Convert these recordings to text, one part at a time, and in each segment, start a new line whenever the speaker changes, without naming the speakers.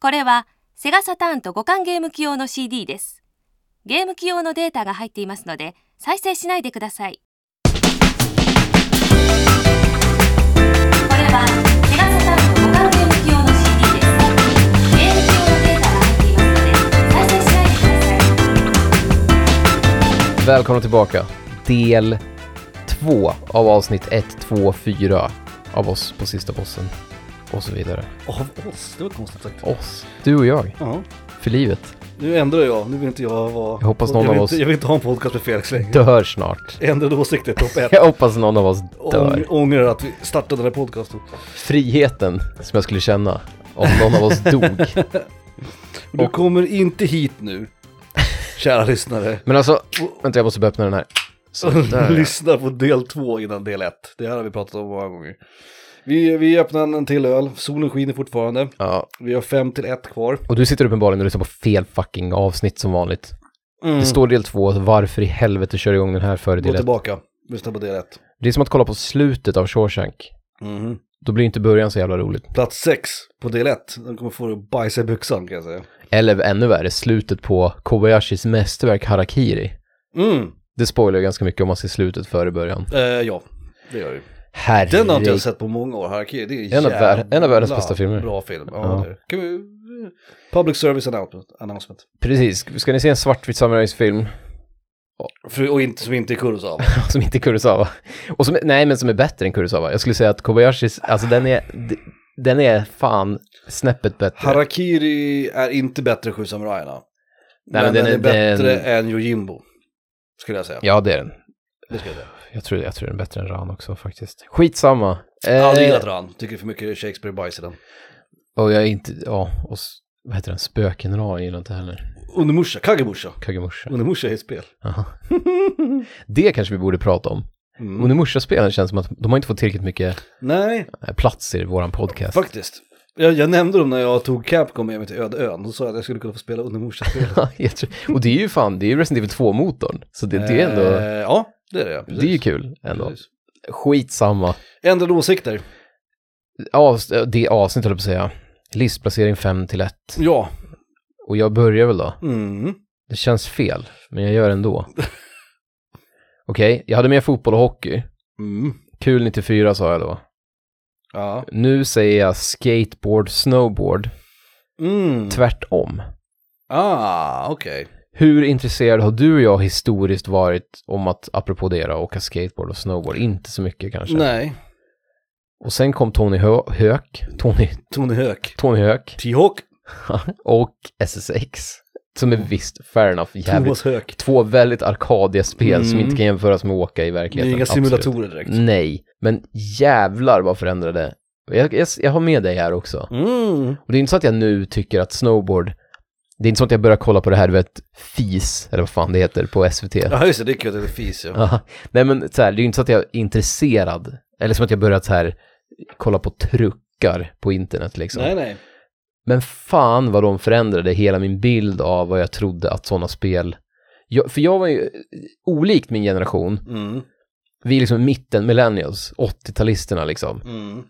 これはセガサターンと互換ゲーム機用の CD です。ゲーム機用のデータが入っていますので再生しないでください。これはセガサターンと互換ゲーム機用の CD です。ゲーム機用のデータが入っていますので再生しないでください。
Välkomna tillbaka. Del två av avsnitt 1, 2, 4 av oss på sista bossen. Och så vidare.
Av oss? Det var konstigt sagt.
Oss. Du och jag.
Ja.
För livet.
Nu ändrar jag. Nu vill inte jag vara...
Jag hoppas någon
vill
av
inte,
oss-
Jag vill inte ha en podcast med Felix längre.
Dör snart.
Ändrade åsikter, topp 1.
Mm. Jag hoppas någon av oss dör.
Ångrar att vi startade den här podcasten.
Friheten som jag skulle känna om någon av oss dog.
Du kommer inte hit nu, kära lyssnare.
Men alltså, vänta jag måste bara öppna den här. Så där. ja.
Lyssna på del två innan del ett. Det här har vi pratat om många gånger. Vi, vi öppnar en till öl. Solen skiner fortfarande.
Ja,
Vi har fem till ett kvar.
och du sitter uppenbarligen och lyssnar på fel fucking avsnitt som vanligt.
Mm.
Det står del två, så varför i helvete kör du igång den här före
Gå
del ett?
tillbaka. Lyssna på del ett.
Det är som att kolla på slutet av Shawshank.
Mhm.
Då blir inte början så jävla roligt.
Plats sex på del ett. Den kommer få dig att bajsa i byxan kan jag säga.
Eller ännu värre, slutet på Kobayashis mästerverk Harakiri.
Mm.
Det spoilar ju ganska mycket om man ser slutet före början.
Eh, ja, det gör det ju.
Herre...
Den har inte jag sett på många år, Harakiri. Det är
En av vär-
jävla
en av världens bästa filmer.
Bra film. Ja,
Ja.
Det är. det. Kan vi... Public service announcement. announcement.
Precis, ska ni se en svartvit samurajsfilm
För, och inte, som inte är Kurosawa.
som inte är Kurosawa? Och som, nej, men som är bättre än Kurosawa. Jag skulle säga att Kobayashis, alltså den är, d- den är fan snäppet bättre.
Harakiri är inte bättre än Sju samurajerna.
Nej,
Men,
men
den, är, bättre
den-
än Yojimbo. Skulle jag säga.
Ja, det är den.
Det skulle jag säga.
Jag tror, jag tror den är bättre än Ran också faktiskt. Skitsamma.
Jag har aldrig
Eh,
gillat Ran. Tycker för mycket Shakespeare-bajs i den.
och jag är inte, ja, och s- vad heter den, Spöken Ran gillar jag inte heller.
Unemusha, Kagemusha.
Kagemusha.
Unemusha är ett spel.
Jaha. Det kanske vi borde prata om.
Mm.
Onimusha-spelen känns som att de har inte fått tillräckligt mycket
Nej,
eh, plats i våran podcast.
faktiskt. Jag, jag nämnde dem när jag tog Capcom med mig till Öde ön. Då sa jag att jag skulle kunna få spela Unemusha-spelet.
Jag tror- och det är ju fan, det är ju Resident Evil 2-motorn. Så det, det är ändå,
Eh, ja, det är det. Precis.
det är ju kul ändå.
Precis.
Skitsamma.
Ändrade åsikter.
Avs eh, det avsnitt höll jag på att säga. Listplacering 5 till 1.
Ja.
Och jag börjar väl då.
Mm.
Det känns fel, men jag gör ändå. Okej, jag hade med fotboll och hockey.
Mm.
Kul 94 sa jag då.
Ja.
Nu säger jag skateboard, snowboard.
Mm.
Tvärtom.
Ah, okej.
Hur intresserad har du och jag historiskt varit om att, apropå det då, åka skateboard och snowboard? Inte så mycket kanske.
Nej.
Och sen kom Tony Hö- Höök, Tony,
Tony Höök.
Tony Höök
T-Hawk.
och SSX. Som är visst, fair enough, jävligt.
Thomas Höök.
Två väldigt arkadiga spel som
Mm.
inte kan jämföras med att åka i
Det är
verkligheten.
inga
alltså, absolut. Mm.
simulatorer direkt.
Nej, men jävlar vad förändrade. Jag, jag, jag har med dig här också.
Mm.
Och det är inte så att jag nu tycker att snowboard, det är inte så att jag börjar kolla på det här, du vet, FIS, eller vad fan det heter, på SVT.
Ja, just det. Det är kul att det är fis, ja.
Ja, nej men så här, det är ju inte så att jag är intresserad, eller som att jag börjat så här kolla på truckar på internet liksom.
Nej, nej.
Men fan vad de förändrade hela min bild av vad jag trodde att sådana spel... Jag, för jag var ju, olikt min generation,
Mm.
vi är liksom mitten, millennials, 80-talisterna liksom.
Mm.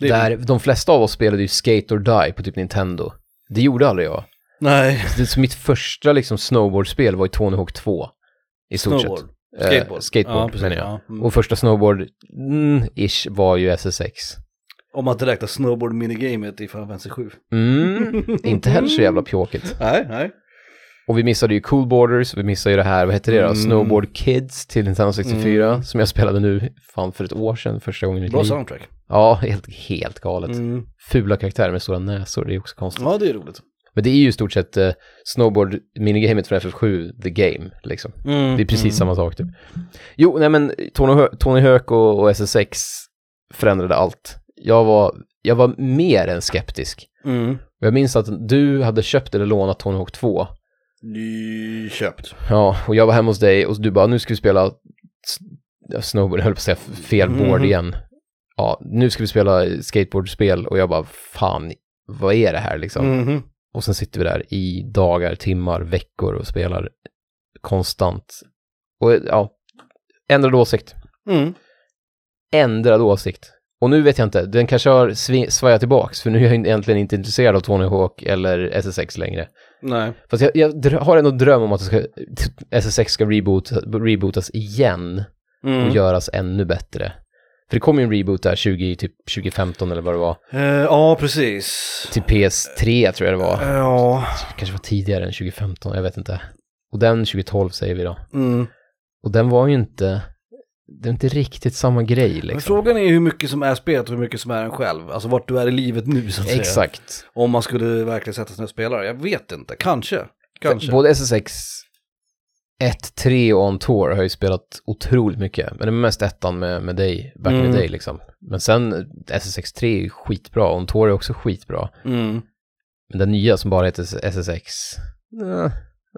Det är-
Där de flesta av oss spelade ju Skate or Die på typ Nintendo. Det gjorde aldrig jag.
Nej.
Så det, så mitt första liksom snowboardspel var ju Tony Hawk 2. I stort sett.
Snowboard.
Eh,
Skateboard.
skateboard
Ja, precis.
menar jag.
Ja. Mm.
Och första snowboard-ish var ju SSX.
Om man inte räknar snowboard minigamet i Final Fantasy 7.
Mm, inte heller så jävla pjåkigt.
Nej, nej.
Och vi missade ju Cool Borders, vi missade ju det här, vad heter det då?
Mm.
Snowboard Kids till Nintendo 64, som jag spelade nu, fan för ett år sedan, första gången i mitt
Bra
liv.
soundtrack.
Ja, helt, helt galet.
Mm.
Fula karaktärer med stora näsor, det är också konstigt.
Ja, det är roligt.
Men det är ju i stort sett eh, snowboard-minigamet från FF7, the game, liksom.
Mm.
Det är precis samma sak typ. Jo, nej men Tony, Hö- Tony Höök och, och SSX förändrade allt. Jag var, jag var mer än skeptisk.
Mm.
Och Jag minns att du hade köpt eller lånat Tony Hawk 2.
Nyköpt.
Ja, och jag var hemma hos dig och du bara, nu ska vi spela s- ja, snowboard, jag höll på att säga f- fel board
Mhm.
igen. Ja, nu ska vi spela skateboardspel och jag bara, fan, vad är det här liksom?
Mhm.
Och sen sitter vi där i dagar, timmar, veckor och spelar konstant. Och ja, ändrad åsikt.
Mm.
Ändrad åsikt. Och nu vet jag inte, den kanske har svi- svajat tillbaks, för nu är jag egentligen inte intresserad av Tony Hawk eller SSX längre.
Nej.
Fast jag, jag dr- har ändå dröm om att det ska, SSX ska reboot, rebootas igen och
Mm.
göras ännu bättre. För det kom ju en reboot där 20, typ 2015 eller vad det var.
Eh, ja, precis.
Till PS3 tror jag det var.
Ja.
Kanske var tidigare än 2015, jag vet inte. Och den 2012 säger vi då.
Mm.
Och den var ju inte, det är inte riktigt samma grej
Men
liksom.
frågan är ju hur mycket som är spelet och hur mycket som är en själv. Alltså vart du är i livet nu så att säga.
Exakt.
Om man skulle verkligen sätta sig ner och spela det. Jag vet inte, kanske. Kanske.
Både SSX 1, 3 och On Tour har jag ju spelat otroligt mycket. Men det är mest ettan med, med dig, back in
Mm.
the day liksom. Men sen SSX 3 är ju skitbra, On Tour är också skitbra.
Mm.
Men den nya som bara heter SSX, nej, nej,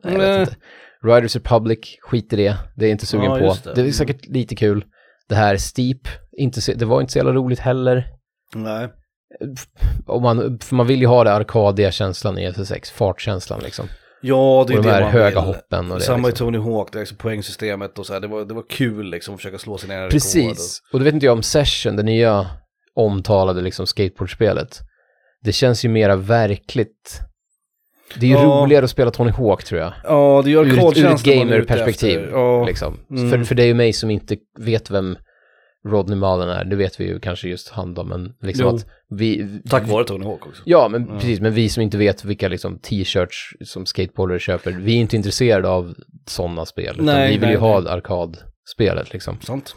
jag
Nej.
vet inte. Riders Republic, skit i det. Det är jag inte sugen
Ja,
på.
just det.
Det. är säkert lite kul. Det här Steep, inte så, det var inte så jävla roligt heller.
Nej.
Om man, för man vill ju ha den arkadiga känslan i SSX, fartkänslan liksom.
Ja, det är
Och de
ju det
här
man
höga
vill.
hoppen och det.
Samma i
liksom.
Tony Hawk, det är liksom poängsystemet och så här. Det var, det var kul liksom att försöka slå sina egna rekord.
Precis, och det vet inte jag om Session, det nya omtalade liksom skateboardspelet. Det känns ju mera verkligt. Det är ju
Ja.
roligare att spela Tony Hawk tror jag.
Ja, det gör
Ur ett, ur ett
arkadkänslan man är ute
gamer-perspektiv.
efter. Ja.
Liksom.
Mm.
För, för det är ju mig som inte vet vem Rodney Mullen är, det vet vi ju kanske just han då, men liksom
Jo. Mm.
att vi...
Tack vare Tony Hawk också.
Ja, men precis, men vi som inte vet vilka liksom, t-shirts som skateboardare köper, vi är inte intresserade av sådana spel. utan
Nej,
vi vill
nej,
ju
nej.
ha arkadspelet liksom
Sant.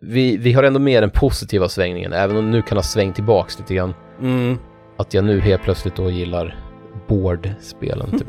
vi, vi har ändå med den positiva svängningen, även om nu kan ha svängt tillbaks lite grann.
Mm.
Att jag nu helt plötsligt då gillar boardspelen. Typ.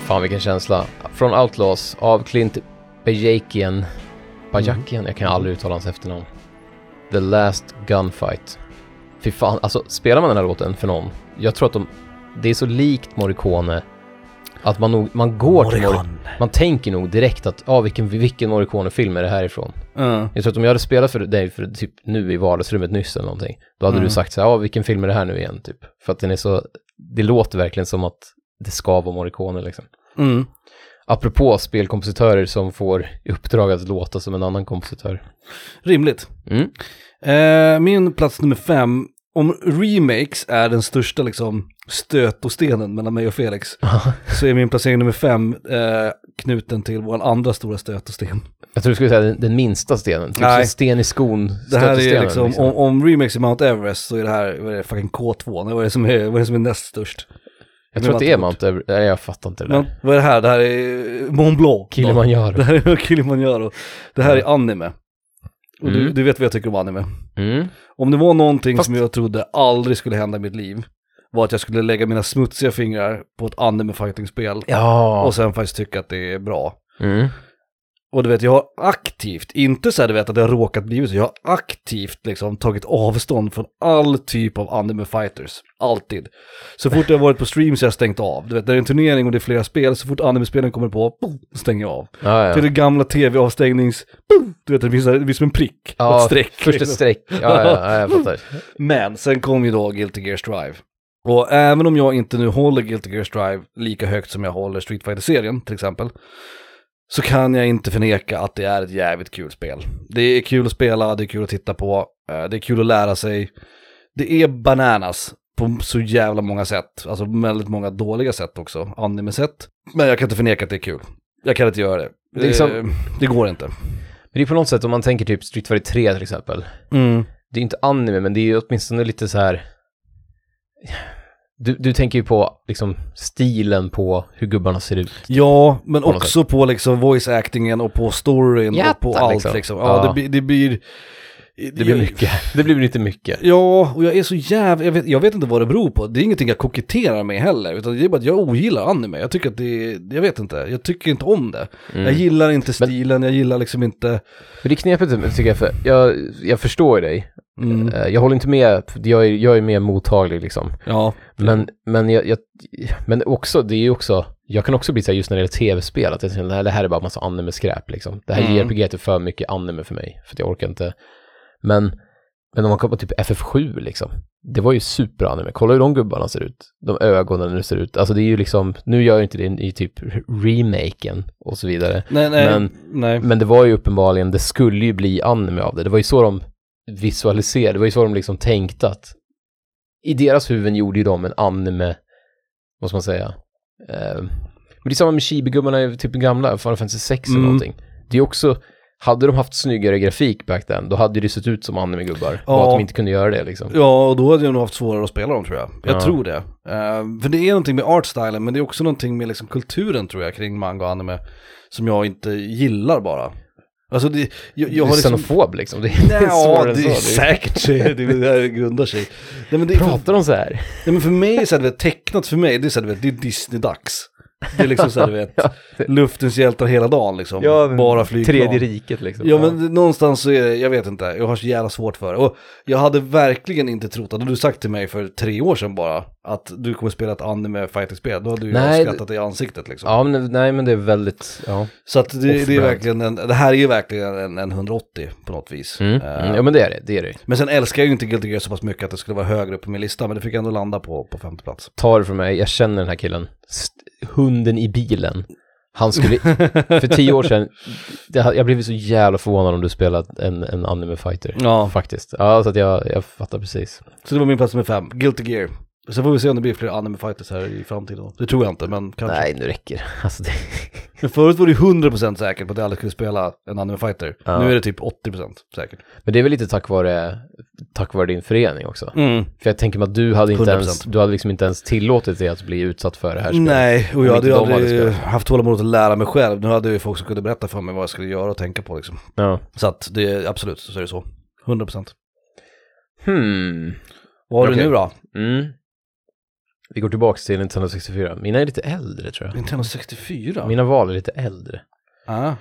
Fan vilken känsla. Från Outlaws av Clint Bajakian. Bajakian? Jag kan aldrig uttala hans efternamn. The Last Gunfight. Fy fan, alltså spelar man den här låten för någon, jag tror att de, det är så likt Morricone att man nog, man går till Morricone. Man tänker nog direkt att, ja ah, vilken, vilken Morricone-film är det här ifrån?
Ja.
Jag tror att om jag hade spelat för dig för typ nu i vardagsrummet nyss eller någonting, då hade
Mm.
du sagt så här, ja vilken film är det här nu igen typ? För att den är så, det låter verkligen som att det ska vara Morricone liksom.
Mm.
Apropå spelkompositörer som får i uppdrag att låta som en annan kompositör.
Rimligt.
Mm.
Eh, min plats nummer fem, om remakes är den största liksom stötostenen mellan mig och Felix, så är min placering nummer fem eh, knuten till vår andra stora stötosten.
Jag tror du skulle säga den, den minsta stenen, typ
Nej.
Nej. sten i skon,
Det här är
stötestenen,
liksom, Om, om remakes är Mount Everest så är det här, vad är det, fucking K2, vad är det som är, vad är, det som är näst störst?
Jag tror att det är Mount Everest, nej jag fattar inte det
Men,
där.
vad är det här? Det här är Mont Blanc. Det
Kilimanjaro.
här är Kilimanjaro. Det här är anime. Och du,
Mm.
du vet vad jag tycker om anime.
Mm.
Om det var någonting
Fast-
som jag trodde aldrig skulle hända i mitt liv var att jag skulle lägga mina smutsiga fingrar på ett anime fighting-spel
Ja.
och sen faktiskt tycka att det är bra.
Mm.
Och du vet, jag har aktivt, inte så här du vet att det har råkat bli så, jag har aktivt liksom tagit avstånd från all typ av anime fighters. Alltid. Så fort jag har varit på stream så har jag stängt av. Du vet, när det är en turnering och det är flera spel, så fort anime-spelen kommer på, boom, stänger jag av.
Ja,
Till
ja.
det gamla tv-avstängnings, boom, du vet, det finns, det finns som en prick,
Ja,
ett streck.
Först ett
liksom.
streck. Ja, ja, ja, jag fattar.
Men sen kom ju då Guilty Gear Strive. Och även om jag inte nu håller Guilty Gear Strive lika högt som jag håller Street Fighter-serien till exempel, så kan jag inte förneka att det är ett jävligt kul spel. Det är kul att spela, det är kul att titta på, eh, det är kul att lära sig. Det är bananas på så jävla många sätt, alltså väldigt många dåliga sätt också, anime-sätt. Men jag kan inte förneka att det är kul. Jag kan inte göra det.
Det är liksom-
Eh, det går inte.
Men det är på något sätt, om man tänker typ Street Fighter 3 till exempel.
Mm.
Det är inte anime, men det är ju åtminstone lite så här... Du, du tänker ju på liksom stilen på hur gubbarna ser ut.
Ja, men
Typ. På något
också på liksom voice-actingen och på storyn och på
Jättar,
allt liksom.
liksom.
Ja,
Ja.
Det, blir- det blir...
Det blir mycket. Det blir lite mycket.
Ja, och jag är så jävla... Jag vet, jag vet inte vad det beror på. Det är ingenting jag koketterar med heller. Utan det är bara att jag ogillar anime. Jag tycker att det Jag vet inte. Jag tycker inte om det. Jag
Mm.
gillar inte stilen, jag gillar liksom inte...
Men det är knepigt tycker jag, för jag, jag förstår dig.
Mm,
Eh, Jag håller inte med, för jag är, jag är mer mottaglig liksom.
ja.
Men, men, jag, jag, men också, det är ju också, jag kan också bli så här just när det gäller tv-spel, att jag känner, "Nej, det här är bara massa anime-skräp liksom. Det här
Mm.
JRPG är för mycket anime för mig, för att jag orkar inte. Men, men om man kollar på typ FF7 liksom, det var ju superanime. Kolla hur de gubbarna ser ut, de ögonen hur det ser ut. Alltså det är ju liksom, nu gör ju inte det i typ remaken och så vidare.
Nej, nej,
Men-
nej.
Men det var ju uppenbarligen, det skulle ju bli anime av det. Det var ju så de visualiserade, det var ju så de liksom tänkte att i deras huvuden gjorde ju de en anime, vad ska man säga? Eh, men det är samma med Chibi-gubbarna i typ den gamla, Final Fantasy 6
Mm.
eller någonting. Det är också, hade de haft snyggare grafik back then, då hade det sett ut som anime-gubbar.
Ja.
Och att de inte kunde göra det liksom.
Ja, och då hade jag nog haft svårare att spela dem tror jag. Jag
Ja.
tror det. Eh, för det är någonting med artstylen, men det är också någonting med liksom kulturen tror jag kring manga och anime som jag inte gillar bara. Alltså det, jag, jag
Jag
har
är
liksom...
xenofob liksom. Det är
Nej, ja,
svårare än
det är
så. Det är-
säkert det, är där det grundar sig. Nej, men det, för,
Pratar de så här?
nej, men för mig är så här, du vet, tecknat för mig, det är så här, du vet, det är Disney-dags. Det är liksom så här, du vet, luftens hjältar hela dagen liksom. bara flygplan.
Tredje riket liksom.
Ja men någonstans så är det, jag vet inte, jag har så jävla svårt för det. Och jag hade verkligen inte trott, hade du sagt till mig för tre år sedan bara, att du kommer spela ett anime fighting-spel, då hade ju jag
Nej,
skrattat i ansiktet liksom.
Ja, men nej men det är väldigt, ja.
Så att det, det är
Off-brand.
verkligen en, det här är ju verkligen en, en 180 på något vis.
Mm.
Eh,
Mm. Ja men det är det, det är det.
Men sen älskar jag ju inte Guilty Gear så pass mycket att det skulle vara högre upp på min lista, men det fick ändå landa på, på femte plats.
ta det från mig, jag känner den här killen. St- hunden i bilen. Han skulle, för tio år sedan, det, ha- jag blev så jävla förvånad om du spelat en, en anime fighter.
Ja.
Faktiskt. Ja, så att jag, jag fattar precis.
Så det var min plats nummer fem, Guilty Gear. Sen får vi se om det blir fler anime fighters här i framtiden. Det tror jag inte, men kanske.
Nej, nu räcker det. alltså, det.
Men förut var du 100% säker på att jag aldrig skulle spela en anime fighter.
Ja.
Nu är det typ 80% säkert.
Men det är väl lite tack vare, tack vare din förening också. För jag tänker mig att du hade, inte
100%.
ens, du hade liksom inte ens tillåtit dig att bli utsatt för det här spelet.
Nej, och
Om
jag hade ju
inte de hade
aldrig
spelat.
haft tålamod att lära mig själv. Nu hade jag ju folk som kunde berätta för mig vad jag skulle göra och tänka på liksom.
Ja.
Så att det är absolut, så är det så. 100%.
Hmm.
Vad har du
Okej.
nu då?
Mm. Vi går tillbaka till Nintendo 64. Mina är lite äldre tror jag.
Nintendo 64?
Mina val är lite äldre.
Ah.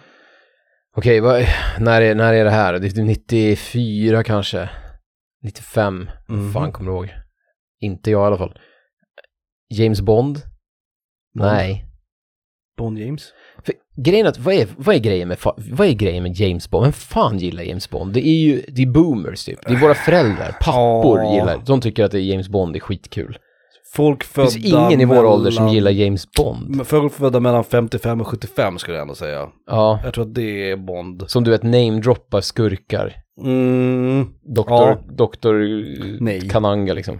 Okej, vad, när, är, när är det här? Det är typ 94 kanske? 95?
Mhm.
Fan, kommer du ihåg? Inte jag i alla fall. James Bond? Nej.
Bond James?
För, grejen är att, vad är, vad, är grejen med, fa- vad är grejen med James Bond? Vem fan gillar James Bond? Det är ju, det är boomers typ. Det är våra föräldrar, pappor
Ja.
gillar. De tycker att det är James Bond är skitkul.
Folk
Det
födda
finns ingen i vår
mellan-
ålder som gillar James Bond.
Men Folk födda mellan 55 och 75 skulle jag ändå säga.
Ja.
Jag tror att det är Bond.
Som du vet, namedroppar skurkar.
Mm.
Doktor,
Ja.
doktor
Nej.
eh, Kananga liksom.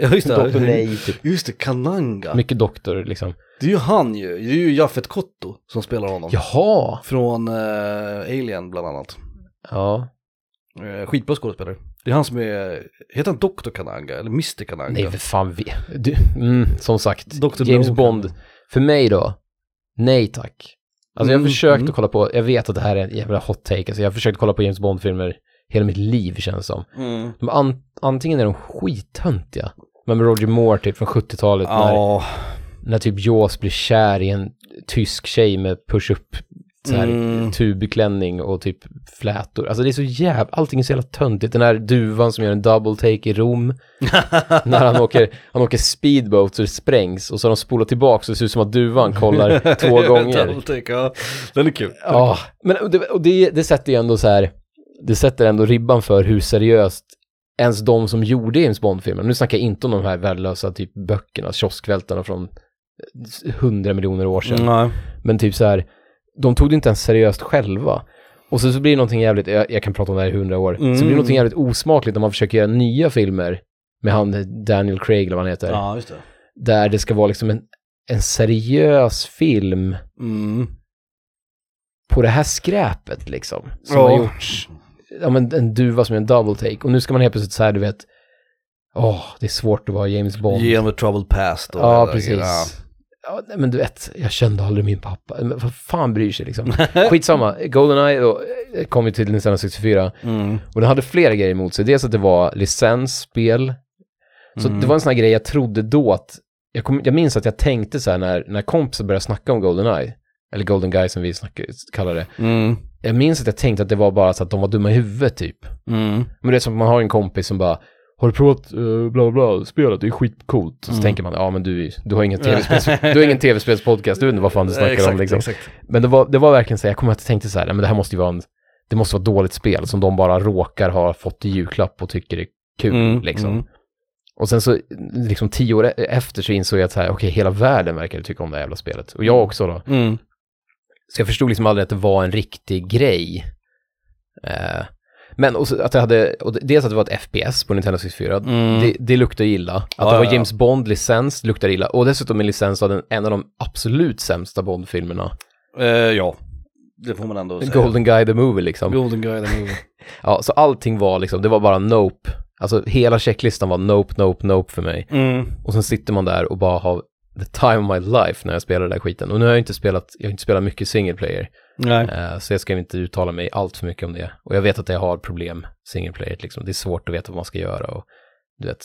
Ja, just det.
Doktor Nej typ.
Just det, Kananga.
Mycket doktor liksom.
Det är ju han ju, det är ju Jaffet Kotto som spelar honom.
Jaha!
Från eh, Alien bland annat.
Ja.
Uh, skitbra skådespelare. Det är han som är, heter han Dr. Kananga eller Mr. Kananga?
Nej, för fan vi... Du, mm, som sagt,
Dr.
James
No.
Bond. För mig då? Nej tack. Alltså jag har
Mm,
försökt
mm.
att kolla på, jag vet att det här är en jävla hot take, alltså jag har försökt kolla på James Bond-filmer hela mitt liv känns som.
Mm.
De an, antingen är de skittöntiga, men med Roger Moore typ från 70-talet när,
Ja,
när typ Jaws blir kär i en tysk tjej med push-up så här,
Mm.
tubklänning och typ flätor. Alltså det är så jävla, allting är så jävla töntigt. Den här duvan som gör en double take i Rom, när han åker, han åker speedboat så det sprängs och så har de spolat tillbaka så det ser ut som att duvan kollar två gånger.
Double-take, ja. Den är kul.
Ja, men och det, och det, det sätter ju ändå så här, det sätter ändå ribban för hur seriöst ens de som gjorde James Bond-filmen, nu snackar jag inte om de här värdelösa typ böckerna, kioskvältarna från hundra miljoner år sedan,
Nej.
men typ så här, de tog det inte ens seriöst själva. Och så, så blir det någonting jävligt, jag, jag kan prata om det här i hundra år, så blir det
Mm.
någonting jävligt osmakligt när man försöker göra nya filmer med han Daniel Craig eller vad han heter,
Ja, just det.
där det ska vara liksom en, en seriös film
Mm.
på det här skräpet liksom. Som
Ja.
har gjorts. Ja men en duva som är en double take. Och nu ska man helt plötsligt säga du vet, åh, det är svårt att vara James Bond.
Ge dem ett troubled past. och
ja,
hela
precis.
grejen.
Ja.
Ja.
nej, men du vet, jag kände aldrig min pappa. Men vad fan bryr sig liksom? Skitsamma, Goldeneye då, eh, kom ju till 1964
Mm.
och den hade flera grejer emot sig. Dels att det var licensspel, så
Mm.
det var en sån här grej jag trodde då att, jag, kom, jag minns att jag tänkte så här när, när kompisar började snacka om Goldeneye, eller Golden Guy som vi snackar, kallar det,
Mm.
jag minns att jag tänkte att det var bara så att de var dumma i huvudet typ.
Mm.
Men det är som att man har en kompis som bara har du provat eh, bla bla spelet? Det är skitcoolt. Och så
Mm.
tänker man, ja men du, du har ingen tv-spels- du har ingen tv-spelspodcast, du vet inte vad fan du snackar
exakt,
om liksom.
Exakt.
Men det var, det var verkligen så här, jag kommer att jag tänkte så här, "Nej, men det här måste ju vara en, det måste vara ett dåligt spel som de bara råkar ha fått i julklapp och tycker är kul
Mm,
liksom.
mm.
Och sen så, liksom tio år e- efter så insåg jag att så här, okej, hela världen verkar tycka om det här jävla spelet. Och jag också då.
Mm.
Så jag förstod liksom aldrig att det var en riktig grej. Eh, men också att det hade, och dels att det var ett FPS på Nintendo 64,
Mm.
det, det luktar illa. Att
Ja,
det var
ja, ja.
James Bond-licens luktar illa. Och dessutom en licens av den, en av de absolut sämsta Bond-filmerna.
Eh, ja, det får man ändå säga.
Golden Guy the Movie liksom.
Golden Guy, the movie.
Ja, så allting var liksom, det var bara nope. Alltså hela checklistan var nope, nope, nope för mig.
Mm.
Och sen sitter man där och bara har the time of my life när jag spelar den där skiten. Och nu har jag inte spelat, jag har inte spelat mycket single player.
Nej.
Eh, Så jag ska inte uttala mig allt för mycket om det. Och jag vet att jag har problem, single player, liksom. Det är svårt att veta vad man ska göra och du vet,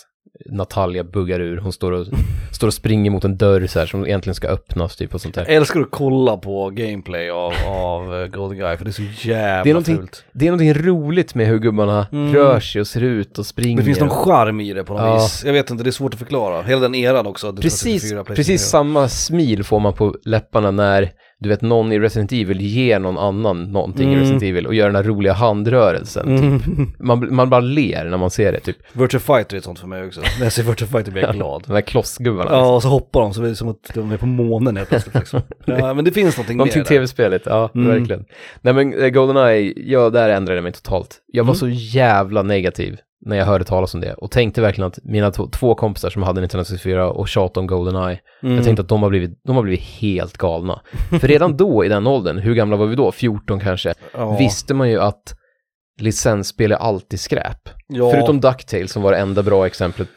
Natalia buggar ur, hon står och, står och springer mot en dörr så här som egentligen ska öppnas typ och sånt där.
Jag Eh, älskar att kolla på gameplay av, av eh, Golden Guy, för det är så jävla
Det är någonting-
fult.
Det är någonting roligt med hur gubbarna
Mm.
rör sig och ser ut och springer.
Det finns någon
och-
charm i det på något
Ja.
vis. Jag vet inte, det är svårt att förklara. Hela den eran också. det
precis,
34, PlayStation
precis
4.
samma smil får man på läpparna när du vet någon i Resident Evil ger någon annan någonting i
Mm.
Resident Evil och gör den här roliga handrörelsen.
Mm.
Man, man bara ler när man ser det, typ.
Virtua Fighter är ett sånt för mig också. När jag ser Virtua Fighter blir jag glad.
De här klossgubbarna.
Ja, och så hoppar de så blir det som att de är på månen helt plötsligt liksom. Ja, men det finns någonting mer
Någonting
där.
tv-spelet, ja
Mm.
verkligen. Nej men eh, Goldeneye, ja där ändrade jag mig totalt. Jag var
Mm.
så jävla negativ när jag hörde talas om det och tänkte verkligen att mina to- två kompisar som hade 1964 och tjatade om Goldeneye,
Mm.
jag tänkte att de har, blivit, de har blivit helt galna. För redan då i den åldern, hur gamla var vi då? 14 kanske,
ja.
visste man ju att licensspel är alltid skräp.
Ja.
Förutom DuckTales som var det enda bra exemplet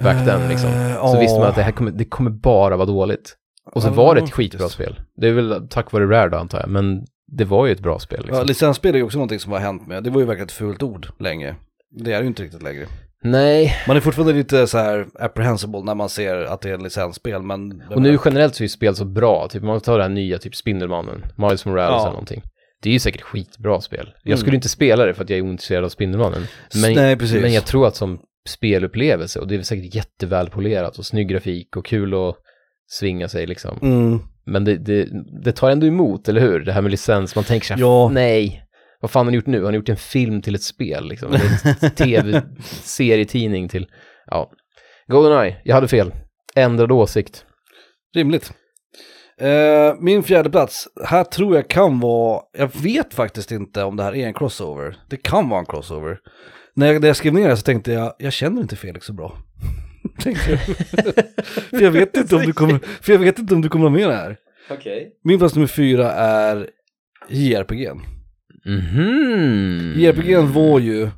back then liksom.
Eh,
Så
ja.
visste man att det här kommer, det kommer bara vara dåligt. Och så
Ja,
var det ett
faktiskt.
skitbra spel. Det är väl tack vare Rare då antar jag, men det var ju ett bra spel liksom.
Ja, licensspel är ju också någonting som har hänt med. Det var ju verkligen ett fult ord länge. Det är det ju inte riktigt längre.
Nej,
Man är fortfarande lite så här apprehensible när man ser att det är licensspel, men...
och nu generellt så är ju spel så bra. Typ man tar det här nya, typ Spindelmannen, Miles Morales
Ja. Mm.
eller någonting. Det är ju säkert skitbra spel. Jag skulle inte spela det för att jag är ointresserad av Spindelmannen. Men,
Nej, precis.
men jag tror att som spelupplevelse, och det är väl säkert jättevälpolerat och snygg grafik och kul att svinga sig liksom.
Mm.
Men det, det, det tar ändå emot, eller hur? Det här med licens, man tänker så här,
Ja.
nej, vad fan har ni gjort nu? Har ni gjort en film till ett spel liksom? Eller en tv-serietidning till, ja. Goldeneye, jag hade fel. Ändrad åsikt.
Rimligt. Eh, min fjärde plats, här tror jag kan vara, jag vet faktiskt inte om det här är en crossover. Det kan vara en crossover. När jag, när jag skrev ner det så tänkte jag, jag känner inte Felix så bra. Tänkte jag. för, jag vet inte om du kommer, för jag vet inte om du kommer ha med det här.
Okej.
Min plats nummer fyra är JRPG.
Mhm.
JRPG var ju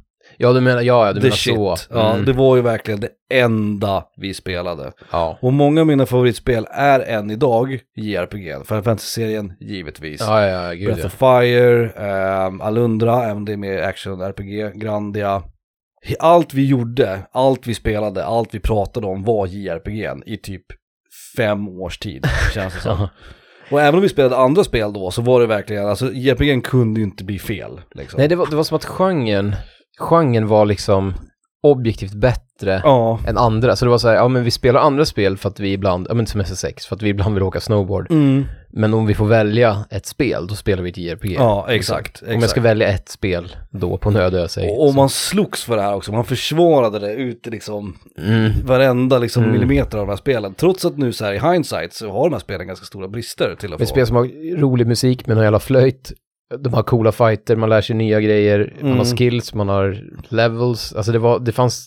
Ja, du menar, ja, ja, du
the
menar
shit.
så.
Ja,
Mm.
det var ju verkligen det enda vi spelade.
ja.
Och många av mina favoritspel är än idag JRPG. Final Fantasy-serien, givetvis.
ja, ja, ja, gud
Breath
ja.
of Fire, ehm, Alundra, även det med action-RPG, Grandia. Allt vi gjorde, allt vi spelade, allt vi pratade om var JRPG i typ fem års tid, känns det som.
Ja.
Och även om vi spelade andra spel då så var det verkligen, alltså JPG'n kunde ju inte bli fel. Liksom.
Nej, det var, det var som att genren, genren var liksom objektivt bättre
Ja.
än andra. Så det var så här, ja men vi spelar andra spel för att vi ibland, ja men som SS6, för att vi ibland vill åka snowboard.
Mm.
Men om vi får välja ett spel, då spelar vi ett JRPG.
Ja, exakt.
Om jag
exakt.
ska välja ett spel då på en öde ö säger
Och och man slogs för det här också, man försvarade det ut i liksom
mm.
varenda liksom millimeter av de här spelen. Trots att nu så här i hindsight så har de här spelen ganska stora brister till och
Ett
från.
spel som har rolig musik men har jävla flöjt. De har coola fighter, man lär sig nya grejer, man
Mm.
har skills, man har levels. Alltså det, var, det fanns,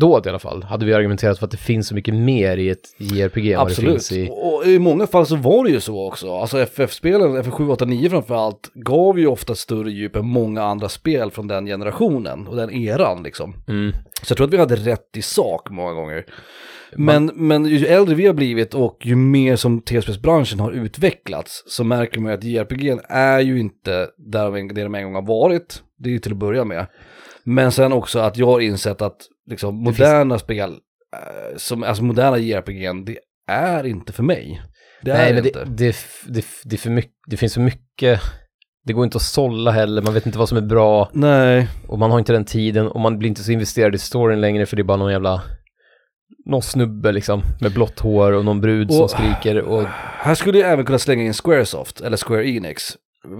då i alla fall, hade vi argumenterat för att det finns så mycket mer i ett JRPG än vad det
Absolut,
finns i...
och och i många fall så var det ju så också. Alltså FF-spelen, FF7, 8, 9 framförallt, gav ju ofta större djup än många andra spel från den generationen och den eran liksom.
Mm.
Så jag tror att vi hade rätt i sak många gånger. Men, men ju äldre vi har blivit och ju mer som tv-spelsbranschen har utvecklats så märker man ju att JRPG är ju inte där de- det de en gång har varit. Det är ju till att börja med. Men sen också att jag har insett att liksom, moderna spel, eh, som, alltså moderna JRPG, det är inte för mig. Det
Nej,
är
men
det
det,
inte.
det, det, det, är för mycket, det finns så mycket, det går inte att sålla heller, man vet inte vad som är bra
Nej,
och man har inte den tiden och man blir inte så investerad i storyn längre för det är bara någon jävla, någon snubbe liksom med blått hår och någon brud som
Och-
skriker och
Här skulle jag även kunna slänga in Squaresoft, eller Square Enix,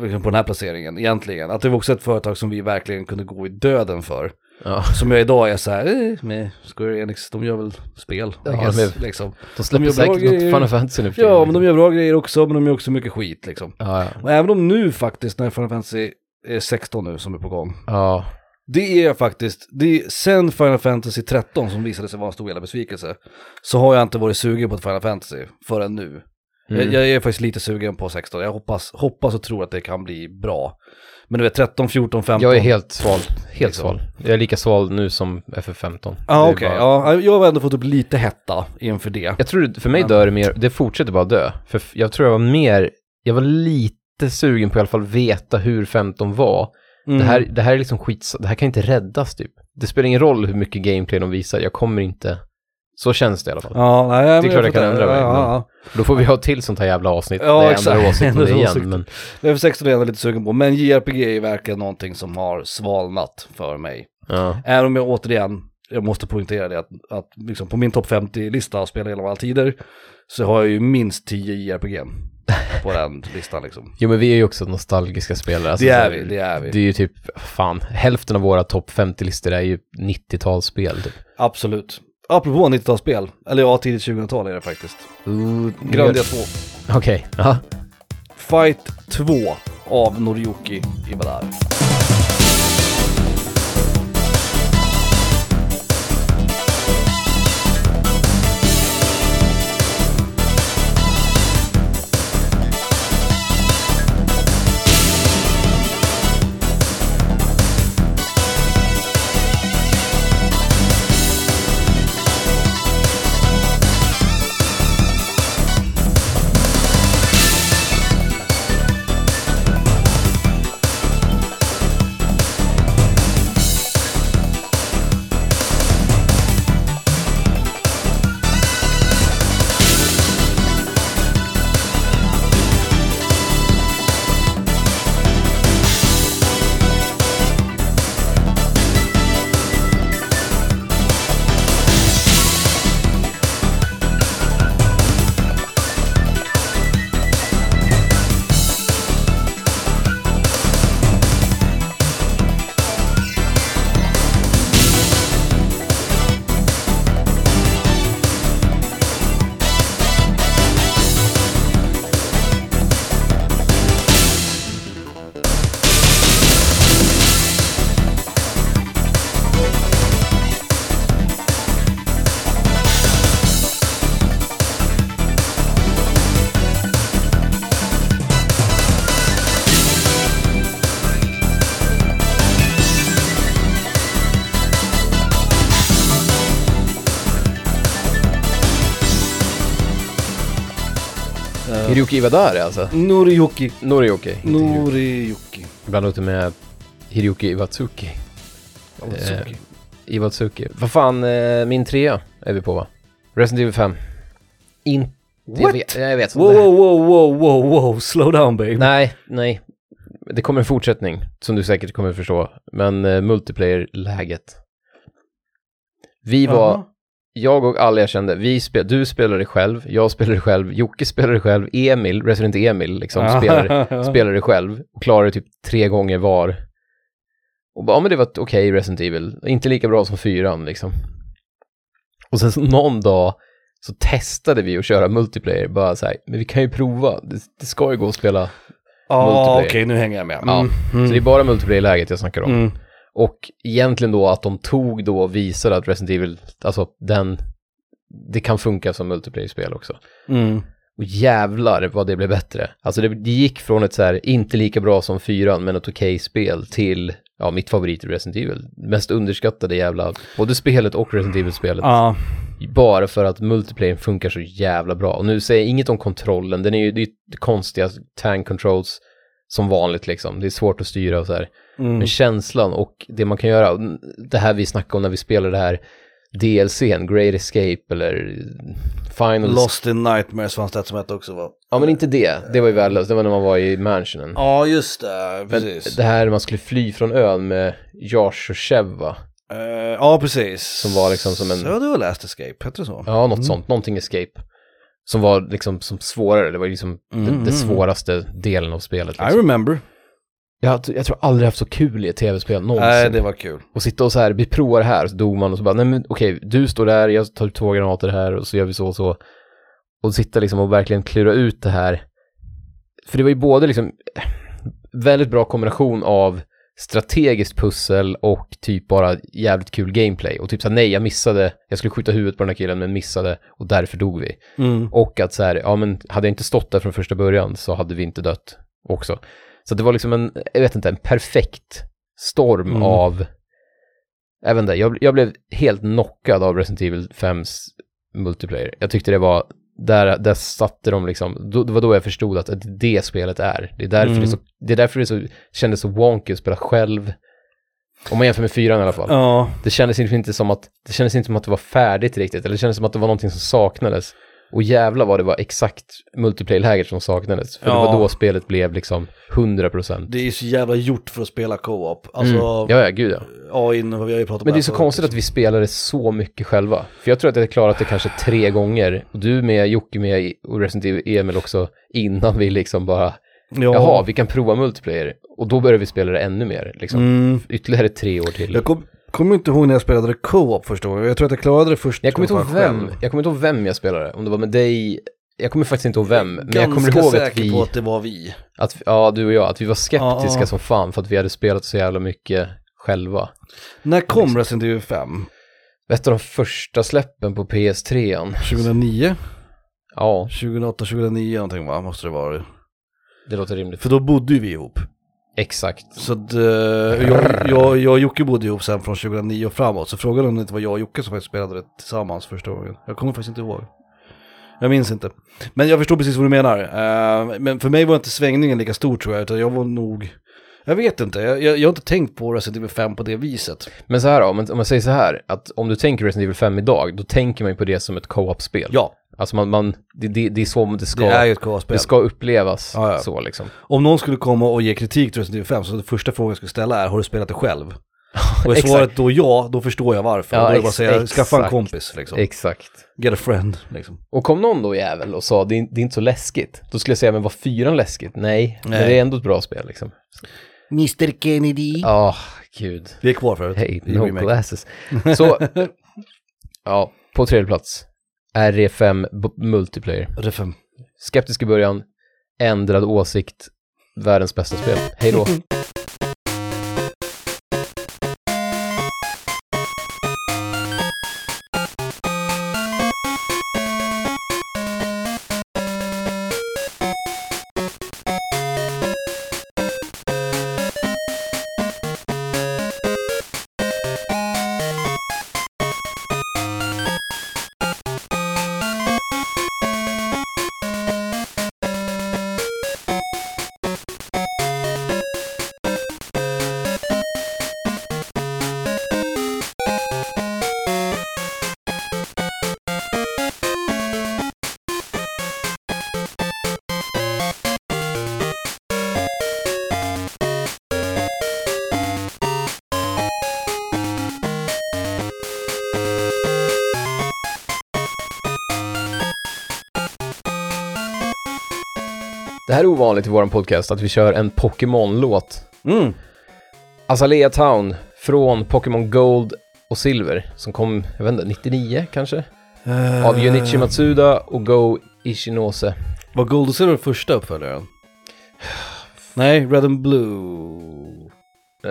liksom på den här placeringen egentligen. Att det var också ett företag som vi verkligen kunde gå i döden för.
ja,
Som jag idag är så här, eh, med Square Enix, de gör väl spel,
Ja,
I guess,
de är-
liksom.
de släpper
gör bra
säkert något
grejer.
Final Fantasy nu för
Ja,
tiden,
men de gör bra grejer också, men de gör också mycket skit liksom.
Ja, ja.
Och även om nu faktiskt, när Final Fantasy är 16 nu som är på gång,
ja.
det är faktiskt, det är, sen Final Fantasy 13 som visade sig vara en stor jävla besvikelse, så har jag inte varit sugen på ett Final Fantasy förrän nu.
Mm.
Jag, jag är faktiskt lite sugen på 16, jag hoppas, hoppas och tror att det kan bli bra. Men du vet 13, 14, 15.
Jag är helt sval. Helt
Liksom.
sval. Jag är lika sval nu som FF15. Det
Ja
är
Ah, okej,
bara-
ja, jag har ändå fått upp lite hetta inför det.
Jag tror det, för mig
Men-
dör det mer, det fortsätter bara dö. För f- jag tror jag var mer, jag var lite sugen på i alla fall veta hur 15 var.
Mm.
Det, här, det här är liksom skits, det här kan inte räddas typ. Det spelar ingen roll hur mycket gameplay de visar, jag kommer inte... Så känns det i alla fall.
Ja, nej, det
är klart jag kan ändra mig,
Ja, ja,
Då får vi ha till sånt här jävla avsnitt
Ja,
där jag
exakt.
ändrar åsikt om det
Ändrar
igen.
åsikt.
Men,
ja. FF16 är jag lite sugen på, men JRPG är verkligen någonting som har svalnat för mig.
ja.
Även om jag återigen, jag måste poängtera det, att, att liksom på min topp 50-lista av spel genom alla tider så har jag ju minst 10 JRPG på den listan liksom.
Jo men vi är ju också nostalgiska spelare. alltså,
Det
så
är
här,
vi, det är
Det
vi.
är ju typ, fan, hälften av våra topp 50-listor är ju 90-talsspel. Typ.
Absolut. Apropå 90-talsspel, eller ja, tidigt 2000-tal är det faktiskt. Grandia 2.
Okej, ja.
Fight 2 av Noriyuki Ibadar.
Hiroki Iwadare alltså.
Noriyuki.
Norioki. inte Hiroki.
Noriyuki.
Ibland låter det med Hiroki Iwatsuki.
Otsuki.
eh, Iwatsuki. Vad fan, eh, min trea är vi på va? Resident Evil 5. In, Jag
What?
vet, jag vet sånt
Wow,
där.
wow, wow, wow, wow, wow, slow down babe.
Nej, nej. Det kommer en fortsättning som du säkert kommer förstå. Men eh, multiplayer-läget. Vi var,
Jaha.
jag och alla jag kände, vi spe, du spelade själv, jag spelade själv, Jocke spelade själv, Emil, Resident Emil liksom, spelade, spelade själv och klarade typ tre gånger var. Och bara, ja men det var ett okej Resident Evil, inte lika bra som fyran liksom. Och sen så någon dag så testade vi att köra multiplayer, bara så här, men vi kan ju prova, det, det ska ju gå att spela
Ja,
multiplayer.
okej, nu hänger jag med.
Ja, Så det är bara multiplayer-läget jag snackar om.
Mm.
Och egentligen då att de tog då och visade att Resident Evil, alltså den, det kan funka som multiplayer-spel också.
Mm.
Och jävlar vad det blev bättre. Alltså det, det gick från ett så här, inte lika bra som fyran, men ett okej spel till, ja, mitt favorit i Resident Evil. Mest underskattade jävla, både spelet och Resident Evil-spelet.
Ja,
Bara för att multiplayer funkar så jävla bra. Och nu säger jag inget om kontrollen, den är ju, det är ju konstiga tank controls som vanligt liksom. Det är svårt att styra och så här.
mm.
Men känslan och det man kan göra, och det här vi snackade om när vi spelade det här DLCn, Great Escape eller Final...
Lost in Nightmares fanns det ett som hette också va?
Ja men inte det, det var ju värdelöst, det var när man var i mansionen.
Ja, just det,
men
precis.
det här när man skulle fly från ön med Josh och Chev va?
Eh, ja, precis. Som
var liksom som en-
Så du har läst Escape, hette det så?
Ja, något sånt, någonting escape. Som var liksom som svårare, det var ju liksom den, den svåraste delen av spelet.
I
Liksom.
remember.
Jag, jag tror aldrig haft så kul i ett tv-spel någonsin.
Nej, det var kul.
Och sitta och så här, vi provar det här, så dog man och så bara, nej men okej, du står där, jag tar två granater här och så gör vi så och så. Och sitta liksom och verkligen klura ut det här. För det var ju både liksom eh, väldigt bra kombination av strategiskt pussel och typ bara jävligt kul gameplay. Och typ så här, nej jag missade, jag skulle skjuta huvudet på den här killen men missade och därför dog vi.
Mm.
Och att så här, ja men hade jag inte stått där från första början så hade vi inte dött också. Så det var liksom en, jag vet inte, en perfekt storm
Mm.
av, jag vet inte, jag, jag blev helt knockad av Resident Evil 5s multiplayer. Jag tyckte det var, där, där satte de liksom, då, det var då jag förstod att det är det spelet är. Det är därför
Mm.
det, är så, det, är därför det är så, kändes så wonky att spela själv. Om man jämför med fyran i alla fall.
Ja,
Det kändes liksom inte som att det kändes inte som att det var färdigt riktigt, eller det kändes som att det var någonting som saknades. Och jävla vad det var exakt multiplayer-läget som saknades. För det
Ja.
var då spelet blev liksom 100 procent.
det är ju så jävla gjort för att spela co-op. Alltså,
Mm. Ja, ja, gud ja.
ja, innan vi har ju pratat om
Men det är
här
så
förut,
konstigt att
liksom.
vi spelade så mycket själva. För jag tror att jag klarat det kanske tre gånger. Och du med, Jocke med och Resident Evil Emil också. Innan vi liksom bara,
ja.
jaha, vi kan prova multiplayer. Och då började vi spela det ännu mer. Liksom.
Mm.
Ytterligare tre år till.
Jag kom- kommer inte ihåg när jag spelade det co-op första gången. Jag tror att jag klarade det först.
Jag kommer inte ihåg
fan själv.
vem, jag kommer inte ihåg vem jag spelade, om det var med dig, jag kommer faktiskt inte ihåg vem, men jag kommer
Ganska
ihåg att
säker på
vi,
att det var vi.
att, ja du och jag, att vi var skeptiska
Ja, ja.
som fan för att vi hade spelat så jävla mycket själva.
När kom Resident Evil 5?
Ett av de första släppen på PS3. -an.
2009?
Ja,
2008, 2009 någonting va? Måste det vara.
det låter rimligt.
För då bodde ju vi ihop.
Exakt.
Så att, eh, jag, jag, jag och Jocke bodde ihop sen från 2009 och framåt. Så frågan är om det inte var jag och Jocke som faktiskt spelade det tillsammans första gången. Jag kommer faktiskt inte ihåg. Jag minns inte. Men jag förstår precis vad du menar. Eh, men för mig var inte svängningen lika stor tror jag. Utan jag var nog... Jag vet inte. Jag, jag, jag har inte tänkt på Resident Evil 5 på det viset.
Men så här då, om man, om man säger så här, att om du tänker Resident Evil 5 idag, då tänker man ju på det som ett co-op-spel.
Ja,
Alltså man, man det, det, det är så det ska,
det är ju
det,
ett co-op-spel.
ska upplevas
Ja, ja.
så liksom.
Om någon skulle komma och ge kritik till Resident Evil 5 så den första frågan jag skulle ställa är, har du spelat det själv? Och är
Exakt.
svaret då ja, då förstår jag varför.
Ja,
Ja, då är det
ex-
bara att säga, skaffa en
exakt.
kompis liksom.
Exakt.
Get a friend liksom.
Och kom någon då jävel och sa det är, det är inte så läskigt, då skulle jag säga men var fyran läskigt? Nej, men
Nej.
det är ändå ett bra spel liksom.
Mr Kennedy.
Ah, gud.
Vi är kvar förut.
Hey,
I
no
remake.
glasses. Så, ja, på tredje plats. RE5 b- Multiplayer.
Det fem.
Skeptisk i början, ändrad åsikt, världens bästa spel. Hej då. Det här är ovanligt i vår podcast, att vi kör en Pokémon-låt.
Mm.
Azalea Town från Pokémon Gold och Silver, som kom, jag vet inte, 99 kanske? Av
Eh.
Junichi Matsuda och Go Ishinose. Eh,
Var Gold och Silver första uppföljaren? Nej, Red and Blue.
Uh,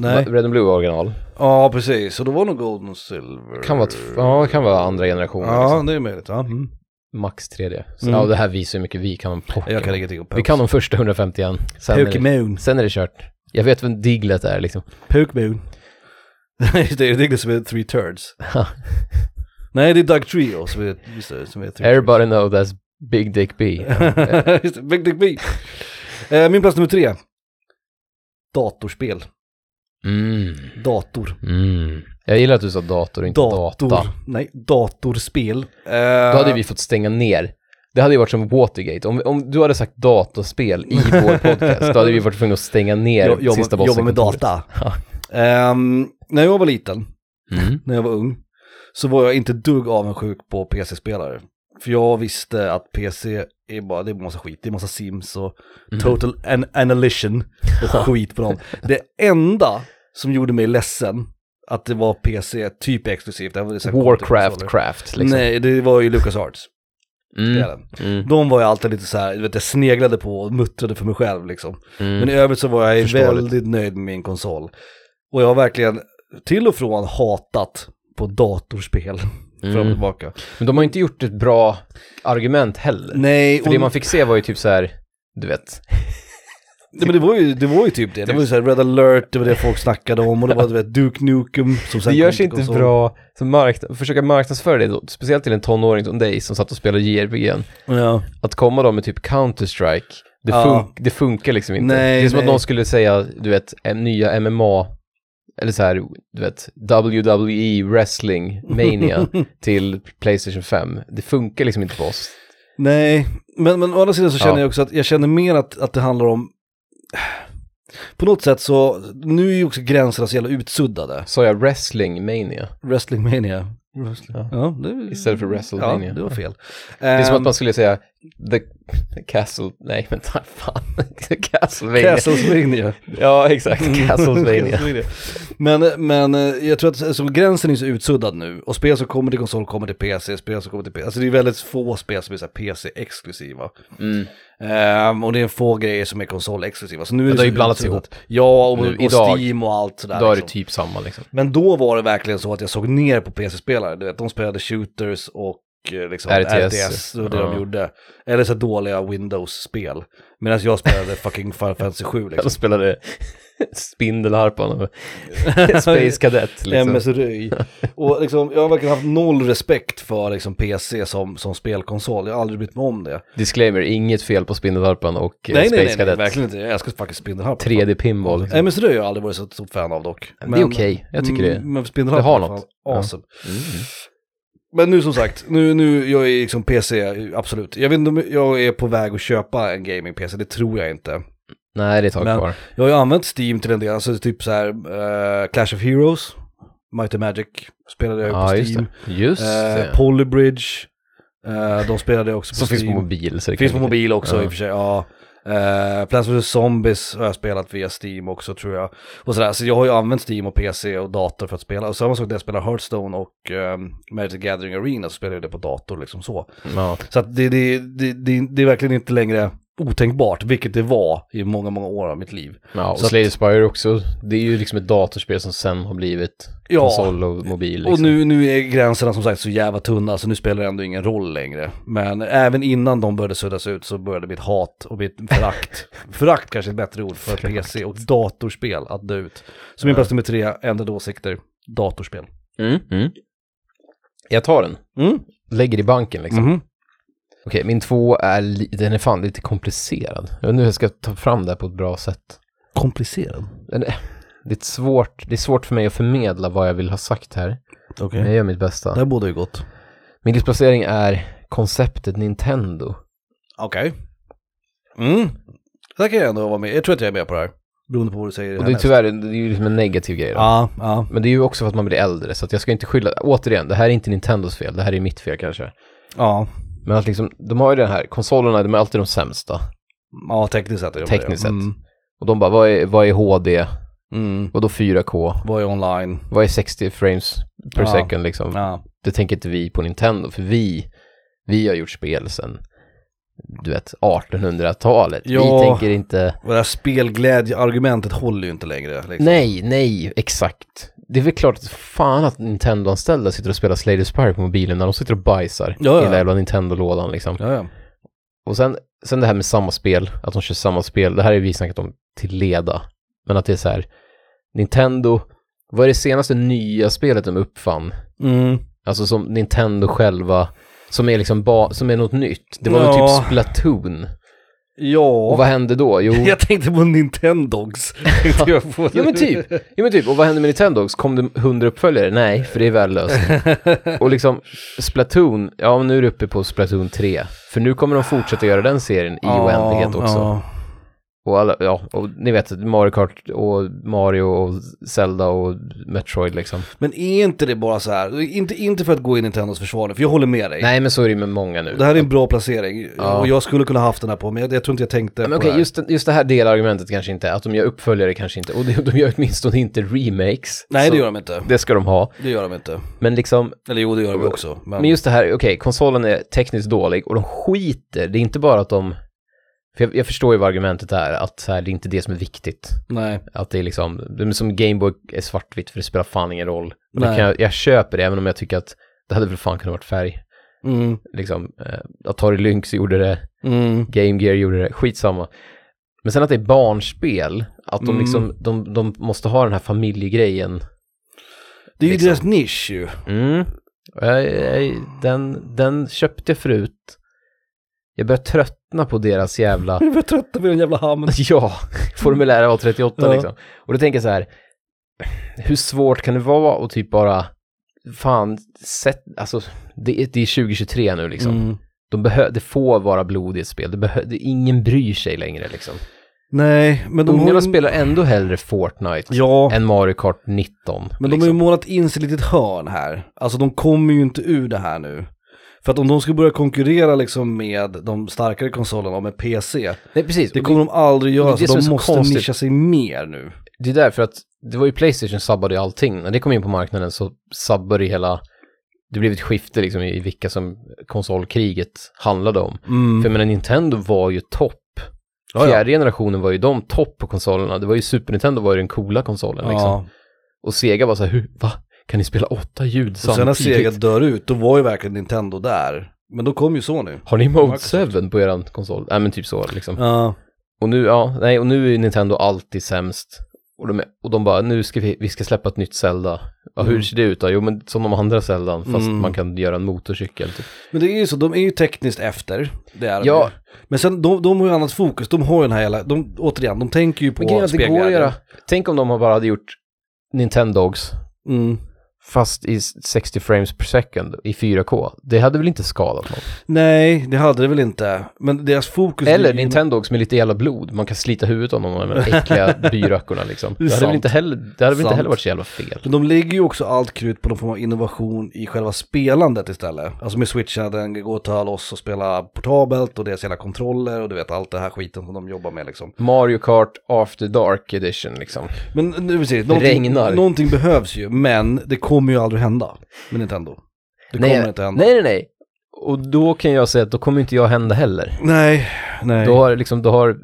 Nej.
Red and Blue var original.
Ja, precis. Så då var nog Gold och Silver.
Kan vara, t- ja, kan vara andra generationen.
Ja,
Liksom.
det är möjligt. Ja. Mm.
Max 3D. Så,
Mm.
Ja, det här visar hur mycket vi kan om Pokémon.
Jag kan ingenting om
Vi kan de första 151. Sen är, det,
Pokémon.
sen är det kört. Jag vet vem Diglett är liksom.
Typ. Pokémon. Just det, det är det som är Three Turds.
Ja.
Nej, det är Doug Trio som är, just det, som är Three
Everybody know that's Big Dick B.
Turds. Just det, Big Dick B. Eh, Min plats nummer tre. Datorspel.
Mm.
Dator.
Mm. Jag gillar att du sa dator och inte
Dator.
data.
Nej, datorspel. Eh,
Då hade vi fått stänga ner. Det hade ju varit som Watergate. Om, om du hade sagt dataspel i vår podcast, då hade vi varit tvungna att stänga ner
jo-
sista
jobba,
bossen.
jobba med data.
Ja.
Ehm, när jag var liten,
Mm.
när jag var ung, så var jag inte dugg avundsjuk på PC-spelare. För jag visste att PC är bara, det är massa skit, det är massa Sims och
Mhm.
Total an- Annihilation och skit på dem. Det enda som gjorde mig ledsen, att det var PC typ exklusivt. det här var det säkert-
Warcraft Craft liksom.
Nej, det var ju LucasArts.
Mm.
Mm.
Mm.
De var ju alltid lite så här, du vet, jag sneglade på och muttrade för mig själv liksom. Men
Mm.
i övrigt så var jag
Förståeligt.
väldigt nöjd med min konsol. Och jag har verkligen till och från hatat på datorspel fram och
Mm.
tillbaka.
Men de har ju inte gjort ett bra argument heller.
Nej,
För
och,
det man fick se var ju typ så här, du vet.
nej, men det var ju, det var ju typ det. Det var ju så här Red alert, det var det folk snackade om och det var du vet, Duke Nukem som sen
Det
kom
görs
till
inte
konsol.
bra, som markna- försöka marknadsföra det då, speciellt till en tonåring som dig som satt och spelade JRPG.
Ja.
Att komma då med typ Counter-Strike, det,
Ja.
fun- det funkar liksom inte.
Nej,
det är som
nej.
att någon skulle säga, du vet, en nya MMA, eller så här, du vet, WWE wrestling mania till Playstation 5. Det funkar liksom inte på oss.
Nej, men, men å andra sidan så känner
Ja.
jag också att jag känner mer att, att det handlar om... På något sätt så, nu är ju också gränserna så jävla utsuddade.
Sa jag wrestling mania?
Wrestling Mania.
Ja.
Ja, det,
Istället för WrestleMania.
Ja, det var fel.
Det är
Ehm.
som att man skulle säga The Castle, nej men ta fan, Castlevania.
Castlevania.
Ja exakt, Castlevania.
Men, men eh, jag tror att alltså, gränsen är så utsuddad nu. Och spel som kommer till konsol kommer till PC, spel som kommer till PC. Alltså det är väldigt få spel som är så här PC-exklusiva.
Mm.
Ehm, och det är få grejer som är konsolexklusiva. Så nu är
det
så
har ju blandats
utsuddat.
ihop.
Ja, och,
Nu,
och
idag-
Steam och allt sådär.
Då är det
liksom.
typ samma liksom.
Men då var det verkligen så att jag såg ner på PC-spelare. Du vet, de spelade shooters och eh, liksom RTS,
RTS.
och det
Ja.
de gjorde. Eller så här dåliga Windows-spel. Medan jag spelade fucking Final Fantasy 7 liksom.
De spelade Spindelharpan och Space Cadet liksom.
MS Röj. Och liksom, jag har verkligen haft noll respekt för liksom, PC som, som spelkonsol. Jag har aldrig brytt mig om det.
Disclaimer, inget fel på Spindelharpan och eh,
nej, nej,
Space
nej, nej,
Cadet.
verkligen inte. Jag älskar faktiskt Spindelharpan.
3D pinball. Liksom.
MS Röj har jag aldrig varit så stort fan av dock.
Men det är okej, jag tycker det.
Mm, Men Spindelharpan
Det
har
har
något.
något.
Awesome.
Mm.
Men nu som sagt, nu, nu jag är liksom PC, absolut. Jag vet inte om jag är på väg att köpa en gaming-PC, det tror jag inte.
Nej, det är ett tag
Men-
kvar.
Jag har ju använt Steam till en del, alltså typ så här eh, Clash of Heroes, Might and Magic spelade jag ju
Ja,
på
just
Steam.
det. Just
Eh,
det.
Polybridge, eh, de spelade jag också
Som
på
finns på
Steam.
mobil. Så det
finns på
kan-
mobil också
Ja.
i och för sig, ja. Uh, Plants vs Zombies har jag spelat via Steam också tror jag. Och sådär, så jag har ju använt Steam och PC och dator för att spela. Och samma sak när jag spelar Hearthstone och um, Magic the Gathering Arena så spelar jag det på dator liksom så.
Ja.
Så att det, det, det, det, det är verkligen inte längre otänkbart, vilket det var i många, många år av mitt liv.
Ja, och
Så att-
Slay the Spire också. Det är ju liksom ett datorspel som sen har blivit
Ja.
konsol och mobil. Liksom.
Och nu, nu är gränserna som sagt så jävla tunna så nu spelar det ändå ingen roll längre. Men även innan de började suddas ut så började mitt hat och mitt förakt, förakt kanske är ett bättre ord för PC och datorspel att dö ut. Så min plats nummer tre, ändrade åsikter, datorspel.
Mm. Mm. Jag tar den.
Mm.
Lägger i banken liksom.
Mhm.
Okej, min två är, li- den är fan lite komplicerad. Jag vet inte hur jag ska ta fram det här på ett bra sätt.
Komplicerad.
Den är, det, är ett svårt, det är svårt för mig att förmedla vad jag vill ha sagt här,
Okej.
men jag
Okay.
gör mitt
Det
bästa.
här borde ju gott.
Min livsplacering är konceptet Nintendo.
Okej. Mm. Där kan jag ändå vara med. Jag tror att jag är med på det här. Beroende på vad du säger.
Och det är tyvärr, det är ju liksom en negativ grej då.
Ja, ja.
Men det är ju också för att man blir äldre, så att jag ska inte skylla, återigen, det här är inte Nintendos fel, det här är mitt fel kanske.
Ja.
Men att liksom, de har ju den här, konsolerna, de är alltid de sämsta.
Ja, tekniskt sett. är det vad det är.
Tekniskt sett.
Mm.
Och de bara, vad är, vad är HD?
Mm.
Och då 4K?
Vad är online?
Vad är 60 frames per
Ja.
second liksom?
Ja.
Det tänker inte vi på Nintendo, för vi, vi har gjort spel sedan, du vet, 1800-talet.
Ja.
Vi tänker inte...
Och det här spelglädjeargumentet håller ju inte längre. Liksom.
Nej, nej, exakt. Det är väl klart att fan att Nintendo-anställda sitter och spelar Slay the Spire på mobilen när de sitter och bajsar
Ja, ja.
i den där jävla Nintendo-lådan liksom.
Ja, ja.
Och sen, sen det här med samma spel, att de kör samma spel, det här har vi snackat om till leda. Men att det är så här, Nintendo, vad är det senaste nya spelet de uppfann?
Mm.
Alltså som Nintendo själva, som är liksom ba, som är något nytt. Det var väl
Ja.
typ Splatoon.
Ja.
Och vad hände då? Jo,
Jag tänkte på Nintendogs. Tänkte jag på.
ja men typ. Ja men typ, och vad hände med Nintendogs? Kom det hundra uppföljare? Nej, för det är värdelöst. och liksom, Splatoon, ja men nu är det uppe på Splatoon 3. För nu kommer de fortsätta göra den serien i
Ja,
oändlighet också.
ja.
Och alla, ja, och ni vet, Mario Kart och Mario och Zelda och Metroid liksom.
Men är inte det bara så här, inte, inte för att gå in i Nintendos försvar nu, för jag håller med dig.
Nej, men så är det ju med många nu.
Det här är en bra placering
Ja.
och jag skulle kunna haft den här på, men jag, jag tror inte jag tänkte
men
på det
okej,
här.
just, det- just det här delargumentet kanske inte, att de gör uppföljare kanske inte, och de, de gör åtminstone inte remakes.
Nej,
Så
det gör de inte.
Det ska de ha,
Det gör de inte.
men liksom,
Eller jo, det gör de också. Men,
men just det här, okej, konsolen är tekniskt dålig och de skiter, det är inte bara att de, för jag, jag förstår ju vad argumentet är, att så här, det är inte det som är viktigt.
nej.
Att det är liksom, det är som Gameboy är svartvitt för det spelar fan ingen roll. Och det
Nej.
kan jag, jag köper det, även om jag tycker att det hade väl fan kunnat varit färg.
Mm,
Liksom, eh, Atari Lynx gjorde det,
mm,
Game Gear gjorde det, skitsamma. Men sen att det är barnspel, att de
Mm.
liksom, de, de måste ha den här familjegrejen.
det är ju
Liksom.
deras nisch ju.
Mm. Och Jag, jag, den, den köpte jag förut. Jag börjar tröttna på deras jävla,
Jag är trött på den jävla hamnen.
ja, formulär A38
Ja.
liksom. Och då tänker jag så här, hur svårt kan det vara att typ bara, fan, sätt, alltså, det, är- det är 2023 nu liksom.
Mm.
De behö- det får vara blod i ett spel, det behö- det, ingen bryr sig längre liksom.
Nej, men de
Ungarna
har ju...
spelar ändå hellre Fortnite
Ja,
än Mario Kart 19.
men de har
liksom.
ju målat in sig i ett litet hörn här. Alltså de kommer ju inte ur det här nu. För att om de ska börja konkurrera liksom med de starkare konsolerna och med PC,
Nej, precis.
det
Det,
kommer de aldrig
det är
göra.
det
Så
som är
de
så
måste
konstigt.
nischa sig mer nu.
det är därför att det var ju Playstation sabbade ju allting. När det kom in på marknaden så sabbade det hela... Det blev ett skifte liksom i vilka som konsolkriget handlade om.
Mm.
För jag menar, Nintendo var ju topp.
Ja, ja.
Fjärde generationen var ju de topp på konsolerna. Det var ju Super Nintendo var ju den coola konsolen liksom.
Ja.
Och Sega var så här, hur, va? Kan ni spela åtta ljud
Och sen när
samtidigt?
Sega dör ut, då var ju verkligen Nintendo där. Men då kom ju Sony.
Har ni Mode
Microsoft.
7 på eran konsol? Nej men typ så liksom.
Ja.
Och nu, ja, nej, och nu är Nintendo alltid sämst. Och de, är, och de bara, nu ska vi, vi ska släppa ett nytt Zelda. Ja, hur
Mm.
ser det ut då? Jo, men som de andra Zeldan, fast
Mm.
man kan göra en motorcykel. Typ.
Men det är ju så, de är ju tekniskt efter. Det är de
Ja.
ju. Men sen, de, de har ju annat fokus. De har ju den här jävla, de, återigen, de tänker ju på
Men grejen är att det går att
spelglädje.
göra. Tänk om de bara hade gjort Nintendogs,
Mm.
fast i 60 frames per second i 4K. Det hade väl inte skadat någon?
Nej, det hade det väl inte. Men deras fokus...
Eller
ligger-
Nintendogs med lite jävla blod. Man kan slita huvudet av någon av de här äckliga byröckorna liksom.
Det är
Det hade väl
sant.
inte heller, det hade väl inte
Sant.
heller varit så jävla fel.
Men de lägger ju också allt krut på någon form av innovation i själva spelandet istället. Alltså med switchen, den går att ta loss och spela portabelt och deras hela kontroller och du vet allt det här skiten som de jobbar med liksom.
Mario Kart After Dark Edition liksom.
Men eh, nu precis, någonting,
regnar.
någonting behövs ju, men det kommer ju aldrig hända med Nintendo. Det
nej,
kommer inte hända.
Nej, nej, nej. Och då kan jag säga att då kommer inte jag hända heller.
nej. nej.
Då har, liksom, då har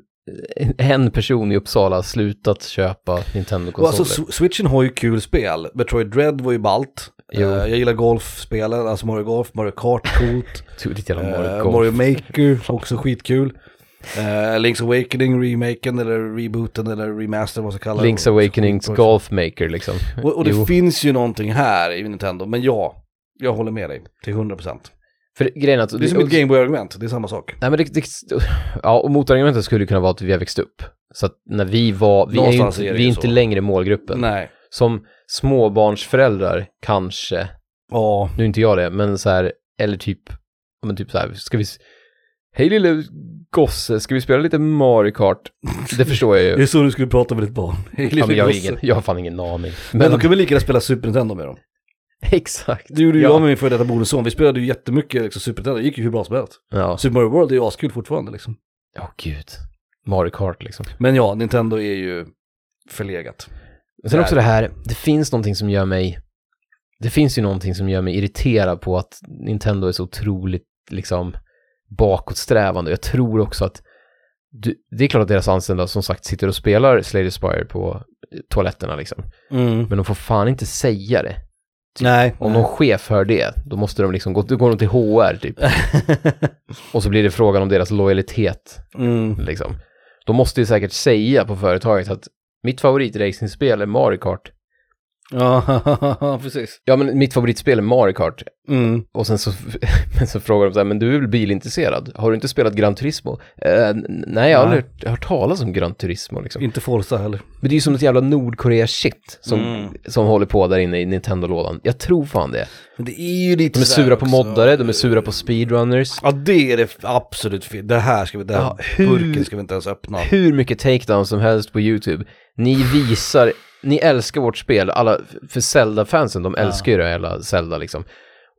en- en person i Uppsala slutat köpa Nintendo-konsoler.
Och alltså Sw- switchen har ju kul spel. Metroid Dread var ju ballt. Eh,
Jo.
jag gillar golfspelen, alltså Mario Golf, Mario Kart, coolt.
Du, ditt jävla Mario
Eh,
Golf.
Mario Maker, också skitkul. Eh, Link's Awakening, remaken eller rebooten eller remaster vad man ska kalla det.
Link's Awakenings
Skitbra.
Golf Maker liksom.
Och, och det
Jo.
finns ju någonting här i Nintendo, men ja, jag håller med dig till 100%.
För grejen är att...
Det är som ett Gameboy-argument, det är samma sak.
Nej men det, det, ja, och motargumentet skulle kunna vara att vi har växt upp. Så att när vi var, vi är ju
Någonstans
inte,
är det
vi är
ju
inte
så.
längre målgruppen.
Nej.
Som småbarnsföräldrar kanske,
Ja,
nu är inte jag det, men så här, eller typ, ja, men typ så här, ska vi, hej lille gosse, ska vi spela lite Mario Kart? Det förstår jag
det
ju.
är så du skulle prata med ditt barn. Hej,
Ja, men jag, har
gosse.
ingen, jag har fan ingen aning.
Men
Men,
då kan vi lika gärna spela Super Nintendo med dem.
exakt.
Det gjorde ju
Ja.
jag med min före detta bonusson. Vi spelade ju jättemycket liksom, Super Nintendo, det gick ju hur bra som helst.
Ja.
Super Mario World är ju askul fortfarande liksom.
Åh gud. Mario Kart liksom.
Men ja, Nintendo är ju förlegat.
Men sen
Där.
också det här, det finns någonting som gör mig, det finns ju någonting som gör mig irriterad på att Nintendo är så otroligt liksom bakåtsträvande. Jag tror också att, du, det är klart att deras anställda som sagt sitter och spelar Slay the Spire på eh, toaletterna liksom.
Mm.
Men de får fan inte säga det.
Nej.
Typ. Om någon chef hör det, då måste de liksom gå, då går de till HR typ. och så blir det frågan om deras lojalitet
mm.
liksom. De måste ju säkert säga på företaget att mitt favoritracingspel är Mario Kart.
Ja, precis.
Ja, men mitt favoritspel är Mario Kart.
Mm.
Och sen så, men så frågar de så här, men du är väl bilintresserad? Har du inte spelat Gran Turismo? Eh, n- nej, jag har
Nej.
aldrig hört, hört talas om Gran Turismo liksom.
Inte Forza heller.
Men det är ju som ett jävla Nordkorea-shit som,
Mm.
som håller på där inne i Nintendo-lådan. Jag tror fan det.
Men det är ju lite
De är
sådär
sura på
också.
moddare, de är sura på speedrunners.
Ja, det är det f- absolut fel. Det här ska vi, den
Ja, hur-
burken ska vi inte ens öppna.
Hur mycket takedowns som helst på YouTube. Ni visar, ni älskar vårt spel, alla, för Zelda-fansen, de älskar ju det hela Zelda liksom.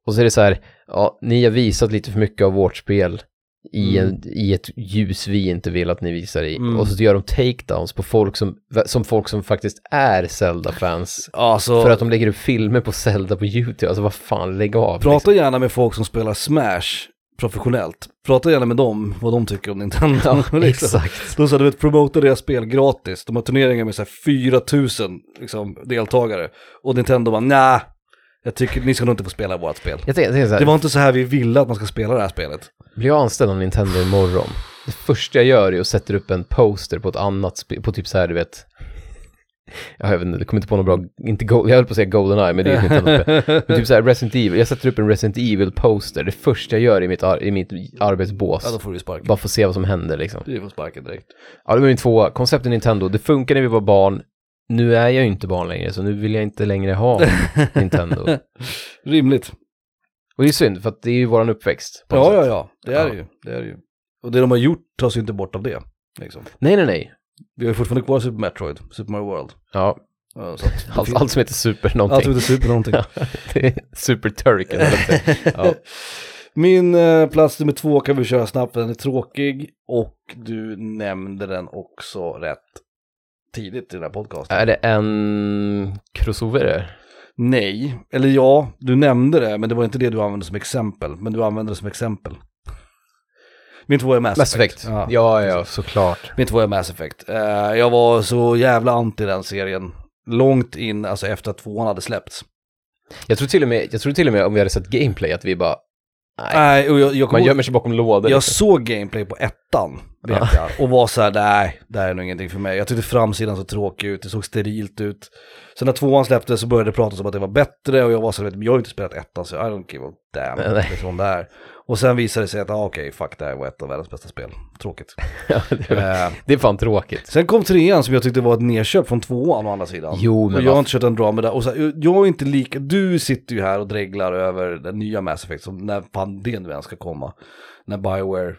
Och så är det så här, ja, ni har visat lite för mycket av vårt spel i, en, i ett ljus vi inte vill att ni visar i.
Mm.
Och så gör de takedowns på folk som, som folk som faktiskt är Zelda-fans.
Alltså,
För att de lägger upp filmer på Zelda på YouTube, alltså vad fan, lägg av. liksom.
prata gärna med folk som spelar Smash professionellt. Prata gärna med dem, vad de tycker om Nintendo.
liksom.
liksom.
Ja, exakt.
De sa, du vet, promota deras spel gratis. De har turneringar med så här 4000 liksom, deltagare. Och Nintendo bara, nej, jag tycker ni ska nog inte få spela vårt spel.
Jag tänker, jag tänker så här,
Det var inte så här vi ville att man ska spela det här spelet.
Blir jag anställd av Nintendo imorgon, det första jag gör är att sätta upp en poster på ett annat spel, på typ så här, du vet. Ja, Jag vet inte, jag kommer inte på något bra, inte Go- jag höll på att säga Goldeneye, men det är ju inte något spel. Men typ så här, Resident Evil, jag sätter upp en Resident Evil-poster, det första jag gör i mitt, ar- i mitt
Ja, då
arbetsbås.
får du sparken.
Bara för att se vad som händer liksom.
Du får sparken direkt.
Ja, det var min tvåa. Konceptet Nintendo, det funkar när vi var barn. Nu är jag ju inte barn längre, så nu vill jag inte längre ha Nintendo.
Rimligt.
Och det är synd, för att det är ju våran uppväxt. på något
Ja,
sätt.
ja, ja. Det är
Ja.
det ju. Det är det ju. Och det de har gjort tas ju inte bort av det. Liksom.
Nej, nej, nej.
Vi har ju fortfarande kvar Super Metroid, Super Mario World.
Ja,
Ja, så att-
allt, allt som heter Super någonting.
Allt som heter Super någonting.
Det är Super Turrican, eller vad det heter. Ja.
Min eh, plats nummer två kan vi köra snabbt, för den är tråkig. Och du nämnde den också rätt tidigt i den här podcasten.
Är det en crossover?
Nej, eller ja, du nämnde det, men det var inte det du använde som exempel. Men du använde det som exempel. Min tvåa är Mass,
Mass Effect.
Ja.
Ja, ja, såklart.
Min tvåa är Mass Effect. Eh, jag var så jävla anti den serien. Långt in, alltså efter att tvåan hade släppts.
Jag tror till och med, jag tror till och med om vi hade sett gameplay att vi bara, Nej.
Nej, och jag, jag, kom
man
ihåg-
gömmer sig bakom lådor.
jag
liksom.
såg gameplay på ettan, vet
Ja.
jag. Och var så här, nej, det här är nog ingenting för mig. Jag tyckte framsidan såg tråkig ut, det såg sterilt ut. Sen när tvåan släpptes så började det pratas om att det var bättre och jag var så här, vet du, men jag har ju inte spelat ettan så I don't give a damn.
Nej, nej.
Från där. Och sen visade det sig att, ah, okej, fuck, det här var ett av världens bästa spel. Tråkigt.
Ja, det, är-
Eh,
det är fan tråkigt.
Sen kom trean som jag tyckte var ett nedköp från tvåan å andra sidan.
Jo, men
och jag har
vad-
inte kört en drama där. Och så här, jag är inte lika, du sitter ju här och dreglar över den nya Mass Effect, som när fan det nu ens ska komma. När Bioware,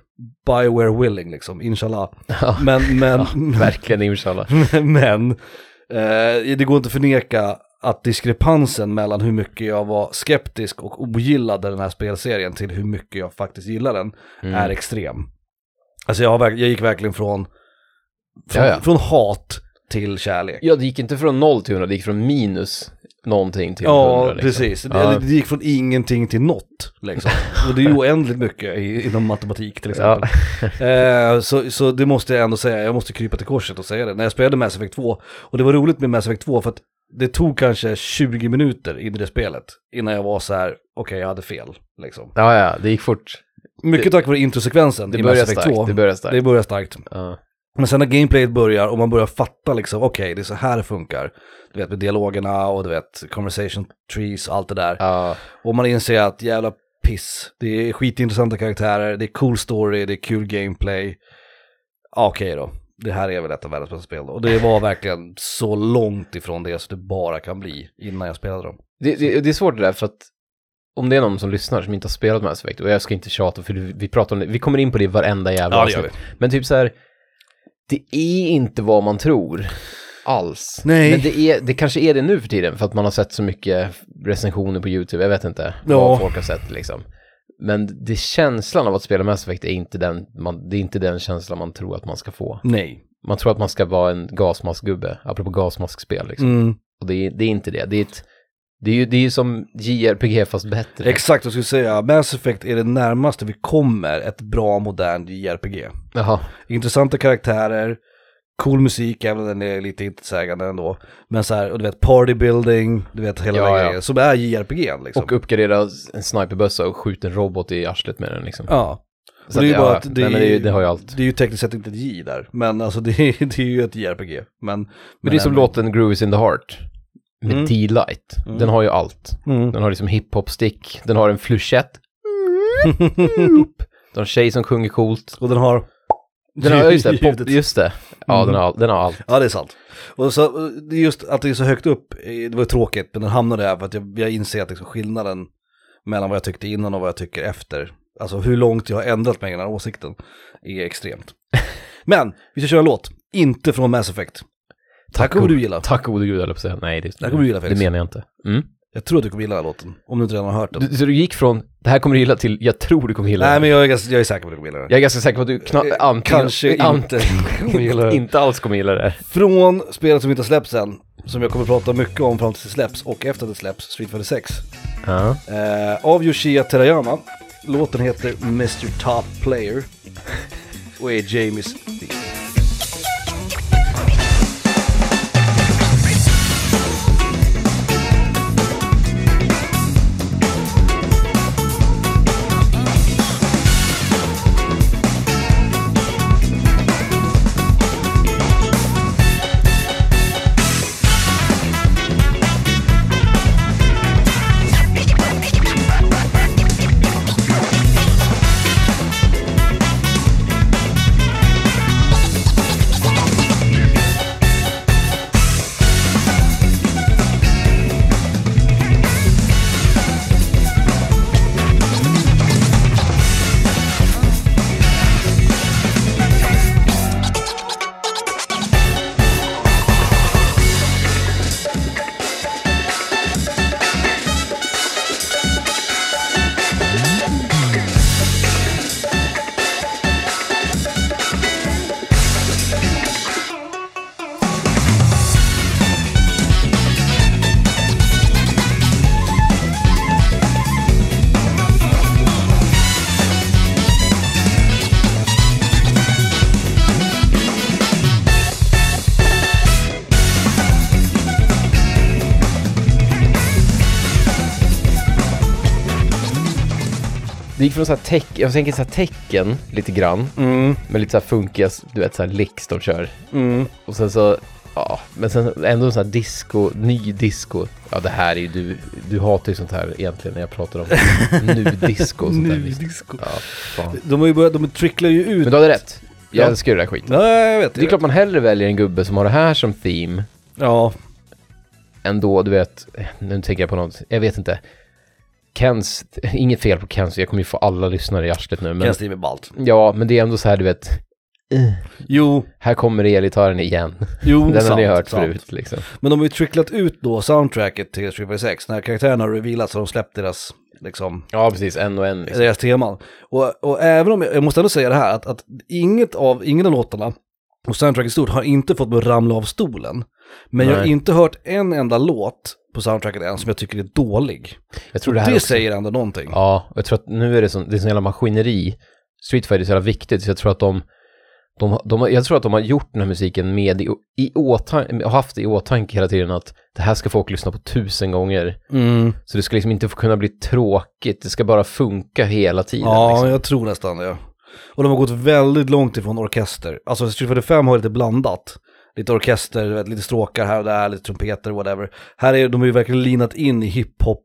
Bioware willing liksom, inshallah.
Ja,
Men, men,
verkligen inshallah.
men, eh, det går inte att förneka att diskrepansen mellan hur mycket jag var skeptisk och ogillade den här spelserien till hur mycket jag faktiskt gillar den är extrem. Alltså jag, har, verk- jag gick verkligen från, från,
Ja, ja.
från hat till kärlek.
Ja, det gick inte från noll till 100, det gick från minus någonting till 100.
Ja,
liksom.
precis. Det,
Ja.
eller det gick från ingenting till något. Liksom. Och det är ju oändligt mycket i, inom matematik till exempel. Eh, så, så det måste jag ändå säga, jag måste krypa till korset och säga det. När jag spelade Mass Effect 2, och det var roligt med Mass Effect 2 för att det tog kanske 20 minuter in i det spelet innan jag var så här, okej jag hade fel. Liksom.
Ja, ja, det gick fort.
Mycket tack vare introsekvensen
Det
i Mass
började
Effect 2.
starkt, det började starkt.
Det börjar starkt.
Ja.
Men sen när gameplayet börjar och man börjar fatta liksom, okej det är så här det funkar. Du vet med dialogerna och du vet conversation trees och allt det där.
Ja.
Och man inser att jävla piss, det är skitintressanta karaktärer, det är cool story, det är kul gameplay. Ja, Okej då, det här är väl ett av världens bästa spel. då. Och det var verkligen så långt ifrån det som det bara kan bli innan jag spelade dem.
Det, det, det är svårt det där för att om det är någon som lyssnar som inte har spelat Mass Effect, och jag ska inte tjata för vi vi pratar om det, vi kommer in på det i varenda jävla
Ja, det gör
avsnitt. Men typ så här, det är inte vad man tror alls.
Nej.
Men det, är, det kanske är det nu för tiden för att man har sett så mycket recensioner på YouTube, jag vet inte
Ja.
vad folk har sett liksom. Men det känslan av att spela Mass Effect är inte den, man, det är inte den känslan man tror att man ska få.
Nej.
Man tror att man ska vara en gasmaskgubbe, apropå gasmaskspel liksom.
Mm.
Och det är, det är inte det. Det är, ett, det är ju det är ju som JRPG fast bättre.
Exakt, jag skulle säga Mass Effect är det närmaste vi kommer ett bra modernt JRPG.
Jaha.
Intressanta karaktärer, cool musik, även om den är lite intetsägande ändå. Men så här, och du vet party building, du vet hela
Ja,
den
ja.
grejen som är JRPG liksom.
Och uppgradera en sniperbössa och skjuta en robot i arslet med den liksom.
ja.
Så
och det är ju
att,
bara
ja,
att det
det, nej,
är-
men det, är ju, det har ju allt.
Det är ju tekniskt sett inte ett J där, men alltså det är, det är ju ett JRPG. Men, men,
Men det är som
ändå.
låten Grooves in the Heart med
Mm.
D-Light. Den har ju allt.
Mm.
Den har liksom hiphop-stick, den har en fluschett. den har en tjej som sjunger coolt.
Och den har...
Den har, ja, just det,
ljudet.
pop, just det. Ja,
Mm.
den, har, all- den har allt.
Ja, det är sant. Och så, det är just att det är så högt upp, eh, det var ju tråkigt, men den hamnade där för att jag, jag inser att liksom skillnaden mellan vad jag tyckte innan och vad jag tycker efter, alltså hur långt jag har ändrat mig i den här åsikten, är extremt. men, vi ska köra en låt, inte från Mass Effect.
Tack
kommer
gode-
du gilla.
Tack gode gud, höll jag på att säga. Nej, det,
Det här kommer du gilla, Felix.
det menar jag inte. Mm.
Jag tror att du kommer gilla den här låten, om du inte redan har hört den.
Du, så du gick från, det här kommer du gilla till, jag tror du kommer gilla
Nej,
det.
men jag är, ganska- jag är säker på att du kommer gilla den.
Jag är ganska säker på att du kna-
Eh,
antingen,
kanske inte kommer gilla det.
inte alls kommer gilla det.
Från spelet som inte har släppts än, som jag kommer att prata mycket om fram tills det släpps och efter att det släpps, Street Fighter 6.
Ja.
Eh, av Yoshia Terayama. Låten heter Mr Top Player. Och är Jamies...
Det gick från så här tech, jag tänker så här tecken lite grann,
Mm,
med lite så här funkiga, du vet så här licks de kör.
mm.
Och sen så, ja, men sen ändå sån här disco, ny disco. Ja, det här är ju, du, du hatar ju sånt här egentligen när jag pratar om nu disco och sånt där.
Nu
visst.
disco.
Ja, fan.
De har ju börjat, de tricklar ju ut.
Men du hade rätt. Jag
Ja.
älskar ju den här skiten.
Nej, jag vet.
Det är
jag
klart
vet.
man hellre väljer en gubbe som har det här som theme,
Ja.
än då, du vet, nu tänker jag på något, jag vet inte. Kens, inget fel på Kens, jag kommer ju få alla lyssnare i arslet nu, men...
Känns det med ballt.
Ja, men det är ändå så här, du vet,
Jo,
här kommer elgitarren igen.
jo,
Den
Mm, sant,
har ni hört
sant.
förut liksom.
Men de har ju tricklat ut då soundtracket till Street Fighter 6. När karaktärerna har revealats har de släppt deras, liksom,
Ja, precis, en och en. Liksom.
deras teman. Och, och även om, jag, jag måste ändå säga det här, att, att inget av, ingen av låtarna och soundtracket i stort har inte fått mig att ramla av stolen. Men jag har
Nej.
inte hört en enda låt på soundtracket än som jag tycker är dålig.
Jag tror det
Det,
här också
säger ändå någonting.
Ja, och jag tror att nu är det sån, det är sån jävla maskineri. Street Fighter är så jävla viktigt, så jag tror att de, de, har- de, har- jag tror att de har gjort den här musiken med i, i åtanke, har haft i åtanke hela tiden att det här ska folk lyssna på tusen gånger.
Mm.
Så det ska liksom inte få kunna bli tråkigt, det ska bara funka hela tiden.
Ja,
liksom.
jag tror nästan det. Och de har gått väldigt långt ifrån orkester. Alltså Street Fighter 5 har lite blandat. Lite orkester, du vet, lite stråkar här och där, lite trumpeter, whatever. Här är de har ju verkligen linat in i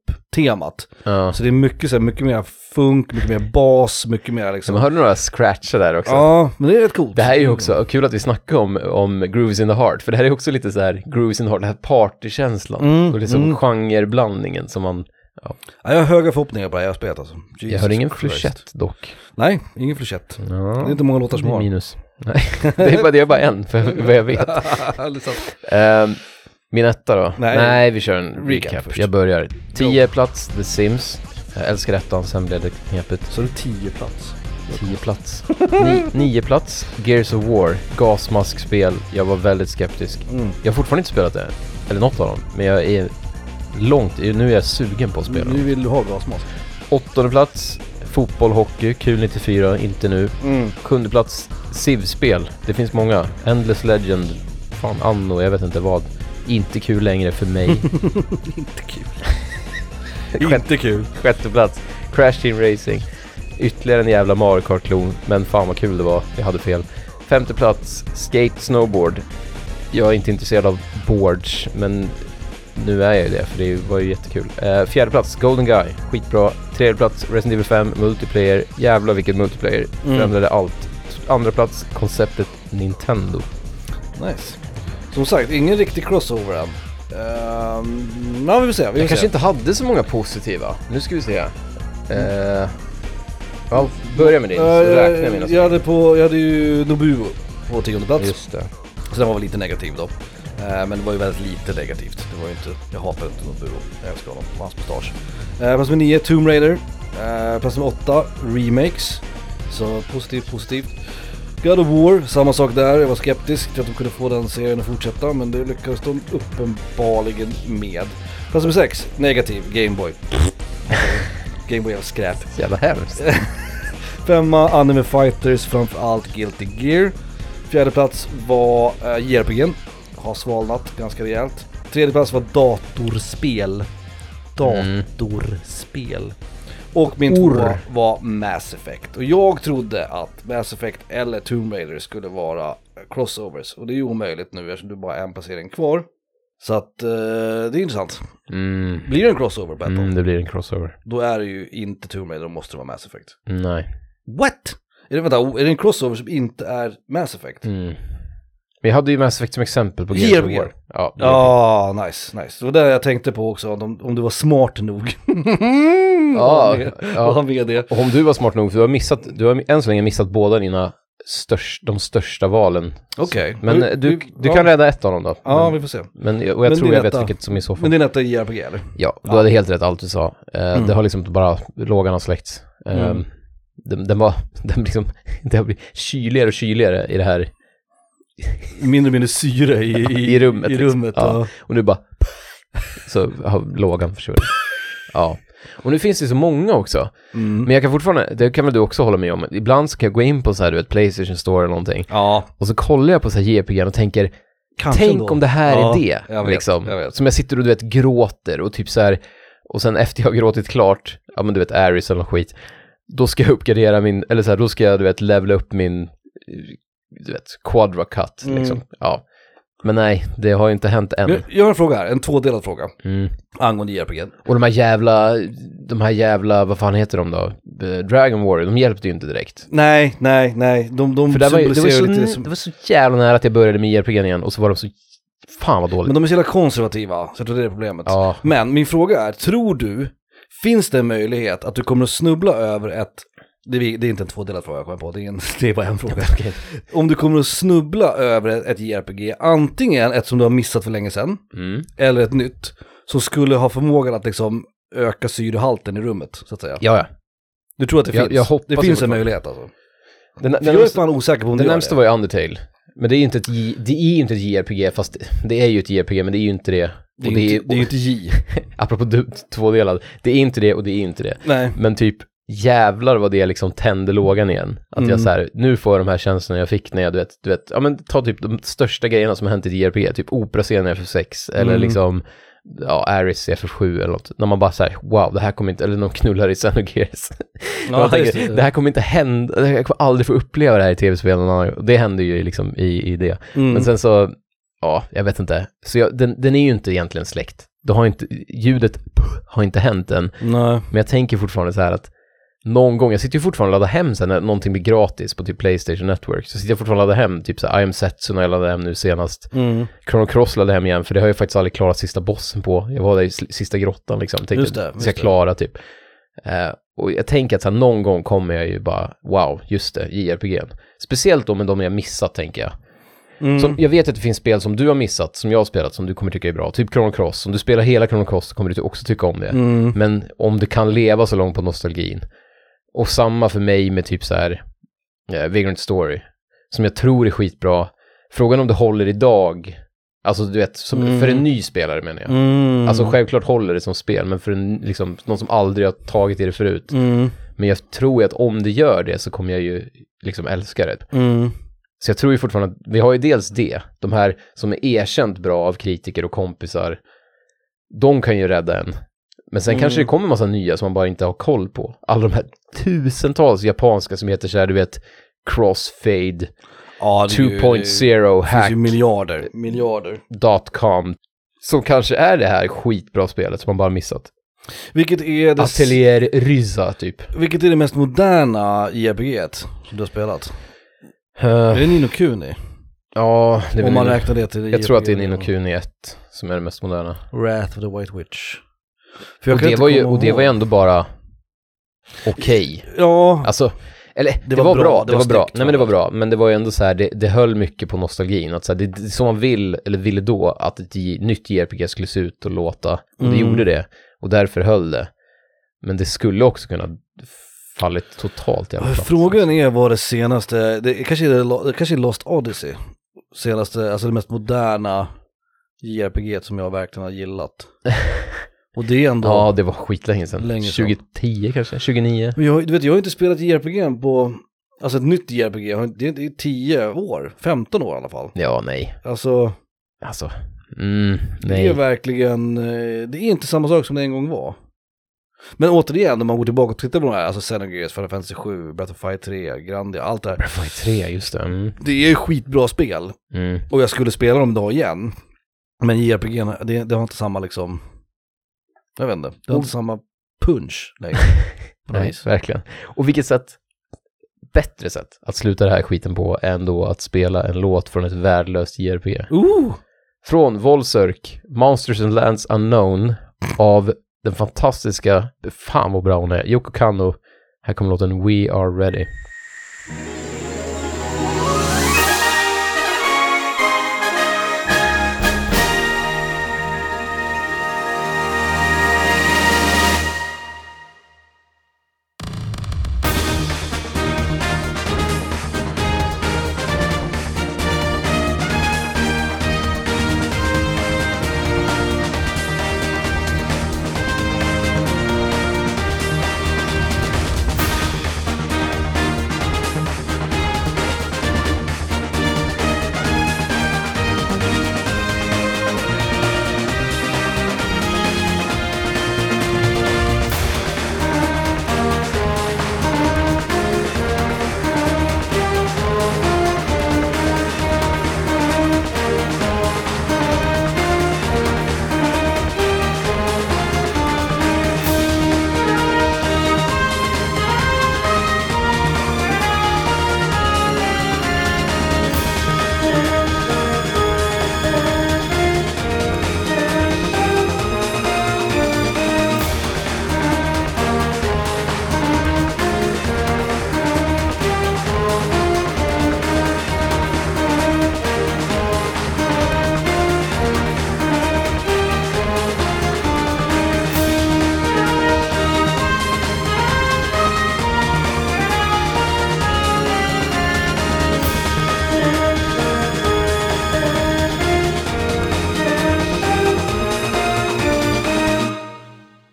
hiphop-temat.
ja.
Så det är mycket, så här, mycket mer funk, mycket mer bas, mycket mer
Så
liksom.
man hörde några scratchar där också.
Ja, men det är rätt coolt.
Det här är ju också, och kul att vi snackar om, om Grooves in the Heart, för det här är också lite så här, Grooves in the Heart, den här partykänslan.
Mm,
och liksom
mm.
genreblandningen som man,
Ja, jag har höga förhoppningar på det här spelet alltså.
jag
Jesus
hör ingen
Christ.
fluschett dock.
Nej, ingen flushett.
Ja.
Det är inte många låtar som
Det är
har.
minus. Nej, det är bara, det är bara en, för vad jag vet.
Det är sant.
Ehm, min etta då?
Nej.
vi kör en
Recap
recap.
först.
jag börjar. 10 plats, The Sims. Jag älskar ettan, sen blev det knepigt.
Så det är tio plats.
10 plats. 9 plats, Gears of War, gasmaskspel. Jag var väldigt skeptisk.
Mm.
Jag har fortfarande inte spelat det, eller något av dem, men jag är långt, nu är jag sugen på att spela.
Nu vill du ha gasmask.
Åttonde plats, fotboll, hockey, kul 94, inte nu.
Mm.
Sjunde plats, SIV-spel. Det finns många. Endless Legend, fan Anno, jag vet inte vad. Inte kul längre för mig.
Inte kul. Inte kul.
Sjätte plats, Crash Team Racing. Ytterligare en jävla Mario Kart-klon, men fan vad kul det var. Jag hade fel. Femte plats, Skate Snowboard. Jag är inte intresserad av boards, men nu är jag ju det, för det var ju jättekul. Eh, fjärde plats, Golden Guy. Skitbra. Tredje plats, Resident Evil 5, Multiplayer. Jävlar vilket multiplayer.
Mm.
Förändrade allt. Andra plats, konceptet Nintendo.
Nice. Som sagt, ingen riktig crossover än. Ehm, ja, vi får se. Vi får
Jag kanske
se.
inte hade så många positiva. Nu ska vi se. Eh, ja, börja med din, så
Eh,
räknar jag mina.
jag, hade på, jag hade ju Nobuo på tionde plats.
Just det.
Så den var väl lite negativ då. Eh, men det var ju väldigt lite negativt. Det var ju inte, jag hatar inte Nobuo. Jag älskar honom och hans mustasch. Eh, plats nummer 9, Tomb Raider. Eh, plats nummer 8, Remakes. Så positivt, positivt. God of War, samma sak där. Jag var skeptisk till att de kunde få den serien att fortsätta men det lyckades de uppenbarligen med. Plats nummer 6, negativ, Gameboy. Gameboy är skräp.
Jävla hemskt.
Femma, Anime Fighters, framförallt Guilty Gear. Fjärde plats var eh, JRPG. Har svalnat ganska rejält. Tredje plats var datorspel.
Mm.
Datorspel. Och min
Orr.
tvåa var Mass Effect. Och jag trodde att Mass Effect eller Tomb Raider skulle vara eh, crossovers. Och det är ju omöjligt nu eftersom du bara har en placering kvar. Så att eh, det är intressant.
Mm.
Blir det en crossover battle,
Mm, det blir en crossover.
då är det ju inte Tomb Raider, då måste det vara Mass Effect.
Nej.
What? Är det, vänta, är det en crossover som inte är Mass Effect?
Mm. Vi hade ju Mass Effect som exempel på Gears of
JRPG.
War. Ja.
Ja, nice, nice. Det var det jag tänkte på också, om, om du var smart nog.
Ja, ja.
ja. Ha med det.
Och om du var smart nog, för du har missat, du har än så länge missat båda dina störst, de största valen.
Okej.
Men
Vi-
eh, du,
vi-
du
ja.
kan rädda ett av dem då.
Ja,
men,
vi får se.
men, jag- och jag
Men
tror
din
jag vet
etta.
vilket som i så fall.
Men din etta är JRPG eller?
Ja, du hade helt rätt allt du sa. Eh, Det har liksom bara, lågan har släckts. Eh,
Mm.
den, den var, den liksom, det har blivit kyligare och kyligare i det här,
Mindre och mindre syre i, i,
i rummet.
I
liksom.
rummet
Ja.
ja.
Och nu bara... Så har lågan försvunnit. Ja. Och nu finns det så många också.
Mm.
Men jag kan fortfarande, det kan väl du också hålla med om, ibland så kan jag gå in på så här, du vet, Playstation Store eller någonting.
ja.
Och så kollar jag på så här JPG och tänker,
Kanske
tänk
ändå.
om det här
Ja,
är det.
jag vet,
liksom.
jag vet.
Som jag sitter och du vet gråter och typ så här, och sen efter jag har gråtit klart, ja men du vet Aris eller något skit, då ska jag uppgradera min, eller så här, då ska jag du vet levla upp min, eh, du vet, quadra cut
Mm.
liksom. Ja. Men nej, det har ju inte hänt än.
Jag, jag har en fråga här, en tvådelad fråga.
Mm.
Angående JRPG.
Och de här jävla, de här jävla, vad fan heter de då? Eh, Dragon Warrior, de hjälpte ju inte direkt.
Nej, nej, nej. De, de
För det var, ju- det, var
symboliserar
så,
lite som...
det var så jävla nära att jag började med E JRPG igen och så var de så, fan vad dåligt.
Men de är så jävla konservativa, så jag tror det är problemet.
Ja.
Men min fråga är, tror du, finns det en möjlighet att du kommer att snubbla över ett, det är, det är inte en tvådelad fråga jag kommer på, det är, en, det är bara en fråga.
okej.
Om du kommer att snubbla över ett, ett JRPG, antingen ett som du har missat för länge sedan,
Mm.
eller ett nytt, som skulle ha förmågan att liksom öka syrehalten i rummet, så att säga.
Ja, ja.
Du tror att det
Jag-
finns?
jag hoppas
det finns
det
en
fortfarande.
möjlighet alltså.
Den,
För
den,
jag är
närmsta,
fan osäker på om
den
du gör
närmsta
det.
var ju Undertale. Men det är ju inte ett, J- det är ju inte ett JRPG, fast det är ju ett JRPG, men det är ju inte det.
Det
Och
är ju inte, det är ju inte J.
apropå du, tvådelad, det är inte det och det är inte det.
Nej.
Men typ jävlar vad det liksom tände lågan igen. Att
Mm.
jag så här, nu får jag de här känslorna jag fick när jag, du vet, du vet, ja men ta typ de största grejerna som har hänt i JRPG, typ operascenen i FF6 eller
Mm.
liksom, ja, Aris i FF7 eller något. När man bara så här, wow, det här kommer inte, eller de knullar i Xenogears.
Ja,
Man
just
tänker,
det.
det här kommer inte hända, jag kommer aldrig få uppleva det här i tv-spel någon annan gång. Det händer ju liksom i, i det. alltså,
Mm.
Men sen så, ja, jag vet inte. Så jag, den, den är ju inte egentligen släkt. Det har inte, ljudet har inte hänt än.
Nej.
Men jag tänker fortfarande så här att någon gång, jag sitter ju fortfarande och laddar hem sen när någonting blir gratis på typ Playstation Network, så sitter jag fortfarande och laddar hem typ så här I am Setsuna jag laddade hem nu senast.
Mm.
Chrono Cross laddade jag hem igen, för det har jag ju faktiskt aldrig klarat sista bossen på. Jag var där i sl- sista grottan liksom, tänkte
Just det, just
ska jag
det.
klara typ. Eh, och jag tänker att så här, någon gång kommer jag ju bara, wow, just det, JRPG. Speciellt då med de jag missat tänker jag.
Mm.
Som, jag vet att det finns spel som du har missat, som jag har spelat, som du kommer tycka är bra. Typ Chrono Cross. Om du spelar hela Chrono Cross så kommer du också tycka om det.
Mm.
Men om du kan leva så långt på nostalgin. Och samma för mig med typ så här, eh, Vagrant Story. Som jag tror är skitbra. Frågan om det håller idag, alltså du vet, som,
Mm.
för en ny spelare menar jag.
Mm.
Alltså självklart håller det som spel, men för en, liksom, någon som aldrig har tagit i det förut.
Mm.
Men jag tror ju att om det gör det så kommer jag ju liksom älska det.
Mm.
Så jag tror ju fortfarande att vi har ju dels det, de här som är erkänt bra av kritiker och kompisar, de kan ju rädda en. Men sen
Mm.
kanske det kommer en massa nya som man bara inte har koll på. Alla de här tusentals japanska som heter så här, du vet, crossfade,
Ja, Alltså, det är ju-
2.0,
Det finns ju
hack,
miljarder. Miljarder.
dot com, som kanske är det här skitbra spelet som man bara missat.
Vilket är det,
Atelier Ryza, typ.
vilket är det mest moderna JRPG som du har spelat? Är det Nino Kuni?
ja, det är
Om man
väl
räknar det till
Jag tror att det är
JRPG.
Nino Kuni 1 som är det mest moderna.
Wrath of the White Witch. För jag
Och
kan
det,
inte
var ju,
komma
och det var ju
ihåg.
ändå bara okej.
Ja,
Alltså, eller det, var, bra, det, var, bra.
snyggt,
Nej men det var
framför
bra, men det var ju ändå så här, det, det höll mycket på nostalgin. Att så här, det, det som man vill, eller ville då, att ett J- nytt JRPG skulle se ut och låta. Och det
Mm.
gjorde det, och därför höll det. Men det skulle också kunna fallit totalt i alla fall.
Frågan är vad det senaste, det är kanske är, Lo- det kanske är Lost Odyssey. Senaste, alltså det mest moderna JRPG som jag verkligen har gillat. Och det är ändå...
Ja, det var skitlänge sedan.
Länge sedan.
2010 kanske? 2009?
Men jag, du vet, jag har inte spelat JRPG på, alltså ett nytt JRPG, jag har inte- det är- det är 10 år, 15 år i alla fall.
Ja, nej.
Alltså,
Alltså, mm, nej.
det är verkligen, eh, det är inte samma sak som det en gång var. Men återigen, om man går tillbaka och tittar på de här, alltså Xenogears, Final Fantasy 7, Breath of Fire 3, Grandia, allt det här.
Breath of Fire 3, just det. Mm.
Det är skitbra spel.
Mm.
Och jag skulle spela dem idag igen. Men JRPG, n- det, det har inte samma liksom, jag vet inte, det har inte samma punch längre. På något
Oh. Nej,
vis.
verkligen. Och vilket sätt, bättre sätt att sluta den här skiten på än då att spela en låt från ett värdelöst JRPG.
Ooh!
Från Volsörk, Monsters and Lands Unknown av den fantastiska, fan vad bra hon är, Yoko Kanno. Här kommer låten We Are Ready.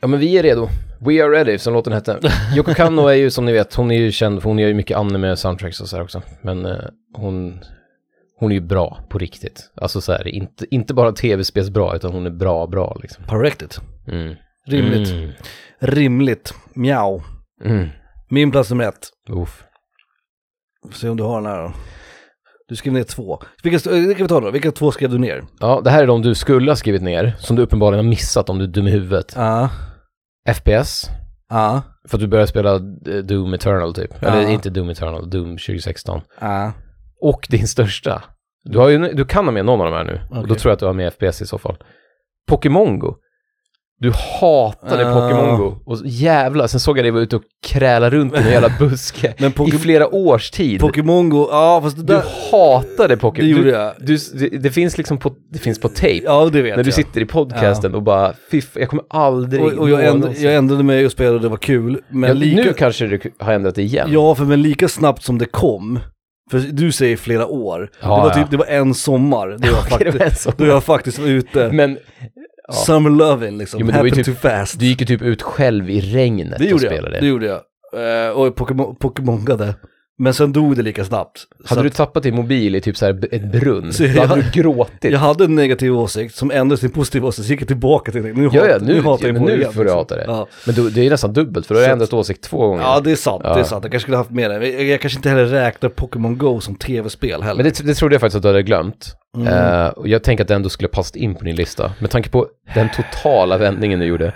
Ja men vi är redo. We Are Ready, som låten hette. Yoko Kanno är ju som ni vet, hon är ju känd för hon gör ju mycket anime soundtracks och så här också. Men eh, hon, hon är ju bra på riktigt. Alltså så här, inte, inte bara tv-spels bra, utan hon är bra, bra liksom.
Perfected.
Mm.
Rimligt.
Mm.
Rimligt. Mjau.
Mm.
Min plats nummer ett.
Uff.
Får se om du har den här då. Du skrev ner två. Vilka, eh, det kan vi ta då. Vilka två skrev du ner?
Ja, det här är de du skulle ha skrivit ner, som du uppenbarligen har missat om du är dum i huvudet.
Ja.
FPS,
Ja.
för att du började spela eh, Doom Eternal typ.
Ja.
Eller inte Doom Eternal, Doom 2016.
Ja.
Och din största. Du, har ju, du kan ha med någon av de här nu. Och då
Okej.
tror jag att du har med FPS i så fall. Pokémon Go. Du hatade
Ah.
Pokémon Go. Och så- jävlar, sen såg jag dig vara ute och kräla runt i en jävla buske
Men Poké-
i flera års tid.
Pokémon Go, ja fast det
du
där...
hatade
Det
Pokémon.
gjorde
Du,
jag.
du, det, det finns liksom på, det finns på tape.
Ja, det vet
när du
jag.
sitter i podcasten och bara, fiff, jag kommer aldrig
och, och jag, änd,
någonsin-
jag ändrade mig och spelade och det var kul. Men
Ja,
lika,
Nu kanske du har ändrat det igen.
Ja, för men lika snabbt som det kom, för du säger flera år,
Ja,
det var
ja.
typ, det var en sommar då jag,
Okej, det var
faktiskt,
en sommar.
då jag faktiskt var ute,
Men ja.
summer loving liksom,
Jo, men det var ju
happened
typ-
too fast.
du gick ju typ ut själv i regnet
det
och
gjorde jag,
spelade.
det gjorde jag. Eh, och Pokémon- Pokémongade. Men sen dog det lika snabbt.
Hade
Så
du
att
tappat din mobil i typ så här b- ett brunn,
Så
då
jag-
hade du gråtit.
jag hade en negativ åsikt som ändrades till en positiv åsikt, så gick jag tillbaka till det. Nu,
Ja,
hat-
ja, nu,
hatar
ja,
jag
men
på det
nu
igen,
får du
liksom.
hata det.
Ja.
Men då, det är nästan dubbelt, för då har
Så
jag
att-
ändrat åsikt två gånger.
Ja, det är sant. Det
Ja.
är sant. Jag kanske skulle haft med det. Jag, jag kanske inte heller räknar Pokémon Go som tv-spel heller.
Men det, det trodde jag faktiskt att du hade glömt.
Mm.
Eh, och jag tänker att det ändå skulle passat in på din lista, med tanke på den totala vändningen du gjorde.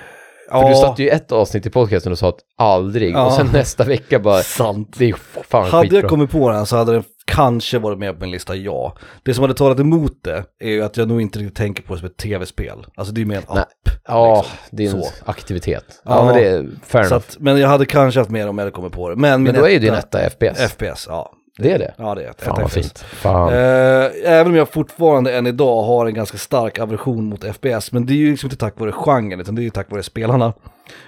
För du satt ju i ett avsnitt i podcasten och sa att aldrig,
Ja.
och sen nästa vecka bara,
sant.
det är f- fan
Hade jag
skitbra.
kommit på den så hade den kanske varit med på min lista, ja. Det som hade talat emot det är ju att jag nog inte riktigt tänker på det som ett tv-spel. Alltså det är mer en
Nej,
app.
Ja, det är en
Liksom. Så.
aktivitet. Ja,
Ja.
men det är fair
Så
enough.
att, men jag hade kanske haft med det om jag hade kommit på det. Men,
Men
min
då är ju din etta
etta-
FPS.
FPS, ja.
det är det.
Ja, det är ett
Fan
ett
vad
FPS.
fint. Fan.
Eh, även om jag fortfarande än idag har en ganska stark aversion mot FPS, men det är ju liksom inte tack vare genren, utan det är ju tack vare spelarna.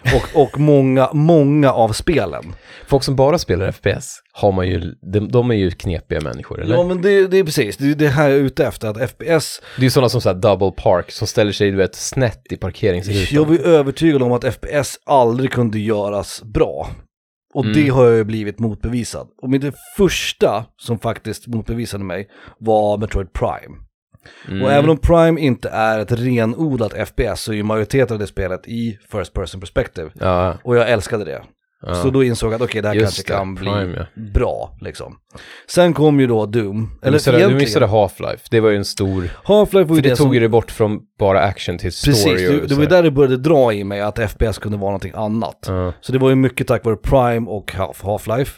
Och, och många, många av spelen.
Folk som bara spelar FPS, har man ju, de, de är ju knepiga människor, eller?
Ja, men det, det är precis, det är ju det här jag är ute efter, att FPS,
Det är ju sådana som så här double park, som ställer sig du vet, snett i parkeringsrutan.
jag var ju övertygad om att FPS aldrig kunde göras bra. Och
Mm.
det har jag ju blivit motbevisad. Och min- det första som faktiskt motbevisade mig var Metroid Prime.
Mm.
Och även om Prime inte är ett renodlat FPS så är ju majoriteten av det spelet i First Person Perspective.
Ja,
Och jag älskade det.
ja.
Så då insåg jag att okej, det här
Just
kanske
det,
kan bli
Prime, ja.
bra liksom. Sen kom ju då Doom.
du,
Eller
missade, du
egentligen,
missade Half-Life, det var ju en stor...
Half-Life var
För
ju
det,
det,
tog
som...
ju det bort från bara action till story
Precis, det,
och
det
så
var ju
här.
där det började dra i mig att FPS kunde vara någonting annat.
Ja.
Så det var ju mycket tack vare Prime och Half- Half-Life.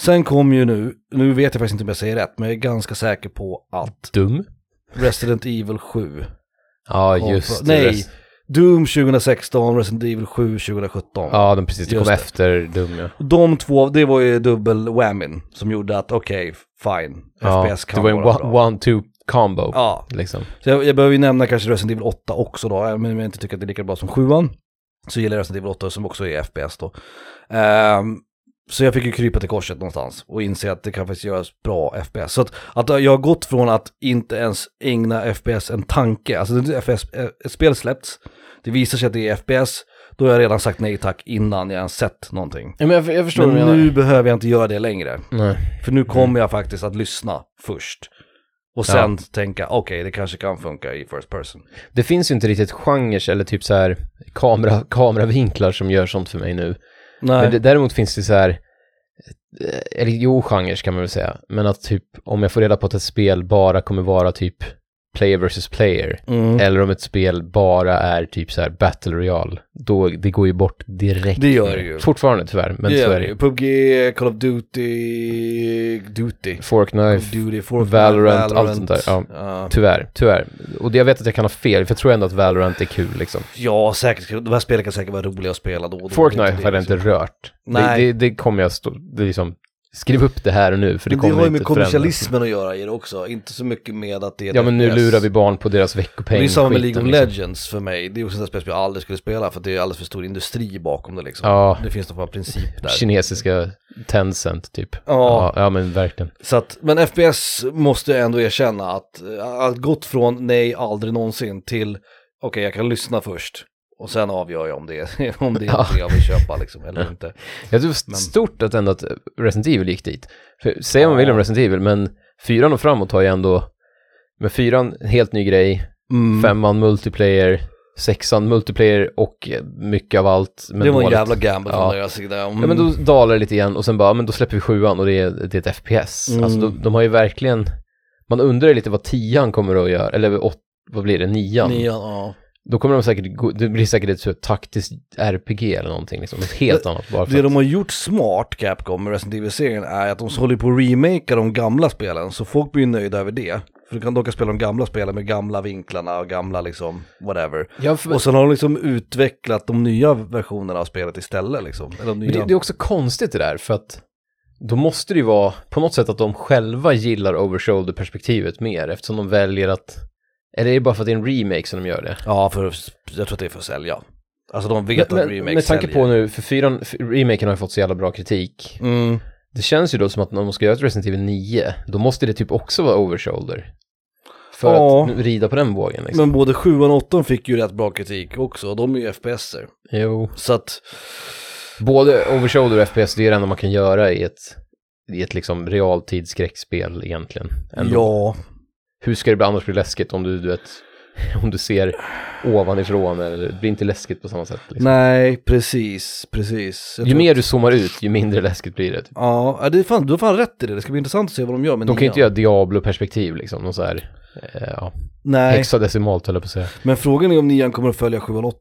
Sen kom ju nu, nu vet jag faktiskt inte om jag säger rätt, men jag är ganska säker på att
Dum?
Resident Evil 7
Ja,
kom
just
för-
det.
Nej,
Rest-
Doom 2016, Resident Evil 7 2017.
Ja, de precis, det
Just
kom
det.
efter Dum, ja.
De två, det var ju dubbel whammin som gjorde att okej, fine,
ja.
FPS
Det
kan
var en
vara bra.
one-two combo,
Ja,
liksom.
så jag, jag behöver ju nämna kanske Resident Evil 8 också då, även om jag inte tycker att det är lika bra som 7 så gillar jag Resident Evil 8 som också är FPS då. Ehm, så jag fick ju krypa till korset någonstans och inse att det kan faktiskt göras bra FPS. Så att, att jag har gått från att inte ens ägna FPS en tanke, alltså det är FPS, eh, ett spel släppts, det visar sig att det är FPS, då har jag redan sagt nej tack innan jag ens sett någonting.
men jag, jag förstår
Men nu behöver jag inte göra det längre.
Nej. Mm.
För nu kommer jag faktiskt att lyssna först. Och sen tänka, okej, det kanske kan funka i first person.
Det finns ju inte riktigt genrer eller typ så här kamera, kameravinklar som gör sånt för mig nu.
Nej,
Men det, däremot finns det så här, eh, eller jo, genrer kan man väl säga, men att typ om jag får reda på att ett spel bara kommer vara typ player versus player,
mm.
eller om ett spel bara är typ så här battle royale, då det går ju bort direkt.
Det gör det ju.
Fortfarande tyvärr, men
det
så
gör
är det
det
ju.
ju. PubG, Call of Duty, Duty. Call of
Forknife,
Duty, Fortnite,
Valorant, allt sånt där, ja.
Ja.
tyvärr, tyvärr. Och jag vet att jag kan ha fel, för jag tror ändå att Valorant är kul liksom.
ja, säkert. De här spelen kan säkert vara roliga att spela då. och då.
Fortnite
Det- liksom.
har jag inte rört.
Nej.
Det, det, det kommer jag stå, det är liksom, skriv upp det här och nu, för det
Men det
kommer
har ju
inte
med
förändras.
kommersialismen att göra i det också. Inte så mycket med att det är
Ja men nu
FPS.
lurar vi barn på deras veckopeng.
Det är samma med League
skiten,
of
liksom.
Legends för mig. Det är också ett spel som jag aldrig skulle spela för att det är alldeles för stor industri bakom det liksom.
Ja.
Det finns någon form av princip där.
Kinesiska Tencent typ.
Ja.
Ja, ja men verkligen.
Så att, men FPS måste jag ändå erkänna att, att gått från nej, aldrig någonsin till okej, jag kan lyssna först och sen avgör jag om det, är- om det är
Ja.
någonting jag vill köpa liksom, eller inte.
Jag tror det var
Men-
stort att ändå att Resident Evil gick dit. För, säger man vill om
Ja.
Resident Evil, men fyran och framåt har ju ändå, med fyran helt ny grej,
Mm.
femman multiplayer, sexan multiplayer och eh, mycket av allt. Men
det var en
målet-
jävla gamble
Ja.
från deras sida. Mm.
Ja men då dalar det lite igen och sen bara, ja, men då släpper vi sjuan och det är, det är ett FPS.
Mm.
Alltså de, de har ju verkligen, man undrar ju lite vad tian kommer att göra, eller åt, vad blir det, nian?
Nian, ja.
Då kommer de säkert, gå, det blir säkert ett så här taktiskt RPG eller någonting liksom, något helt annat bara för
Det
att,
de har gjort smart,
Mm.
Capcom, med Resident Evil-serien är att de håller på att remakea de gamla spelen, så folk blir ju nöjda över det. För du kan, de kan spela de gamla spelen med gamla vinklarna och gamla liksom, whatever.
Ja, för,
Och sen har de liksom utvecklat de nya versionerna av spelet istället liksom. Eller de
men det,
nya.
det är också konstigt det där, för att då måste det ju vara på något sätt att de själva gillar overshoulder-perspektivet mer, eftersom de väljer att... Eller är det bara för att det är en remake som de gör det?
Ja, för jag tror att det är för att sälja. Alltså de vet
Men-
att
men-
remakes
med tanke
säljer.
på nu, för fyran, f- remaken har ju fått så jävla bra kritik.
Mm.
Det känns ju då som att när de ska göra ett Resident Evil 9, då måste det typ också vara overshoulder. För
Ja.
att nu rida på den vågen liksom.
Men både 7 och 8 fick ju rätt bra kritik också, och de är ju FPSer.
Jo.
Så att,
Både overshoulder och FPS, det är det enda man kan göra i ett, i ett liksom realtidsskräckspel egentligen. Ändå.
ja,
Hur ska det bli annars bli läskigt om du, du vet, om du ser ovanifrån eller det blir inte läskigt på samma sätt. Liksom.
nej, precis, precis. Jag
Ju
tror-
mer du zoomar ut, ju mindre läskigt blir det. Typ.
Ja, ja, det är fan, du har fan rätt i det. Det ska bli intressant att se vad de gör med
De kan ju inte
nian.
göra Diablo-perspektiv liksom, någon så här, eh, ja,
Nej,
hexadecimalt höll jag på att säga.
men frågan är om nian kommer att följa 7 och 8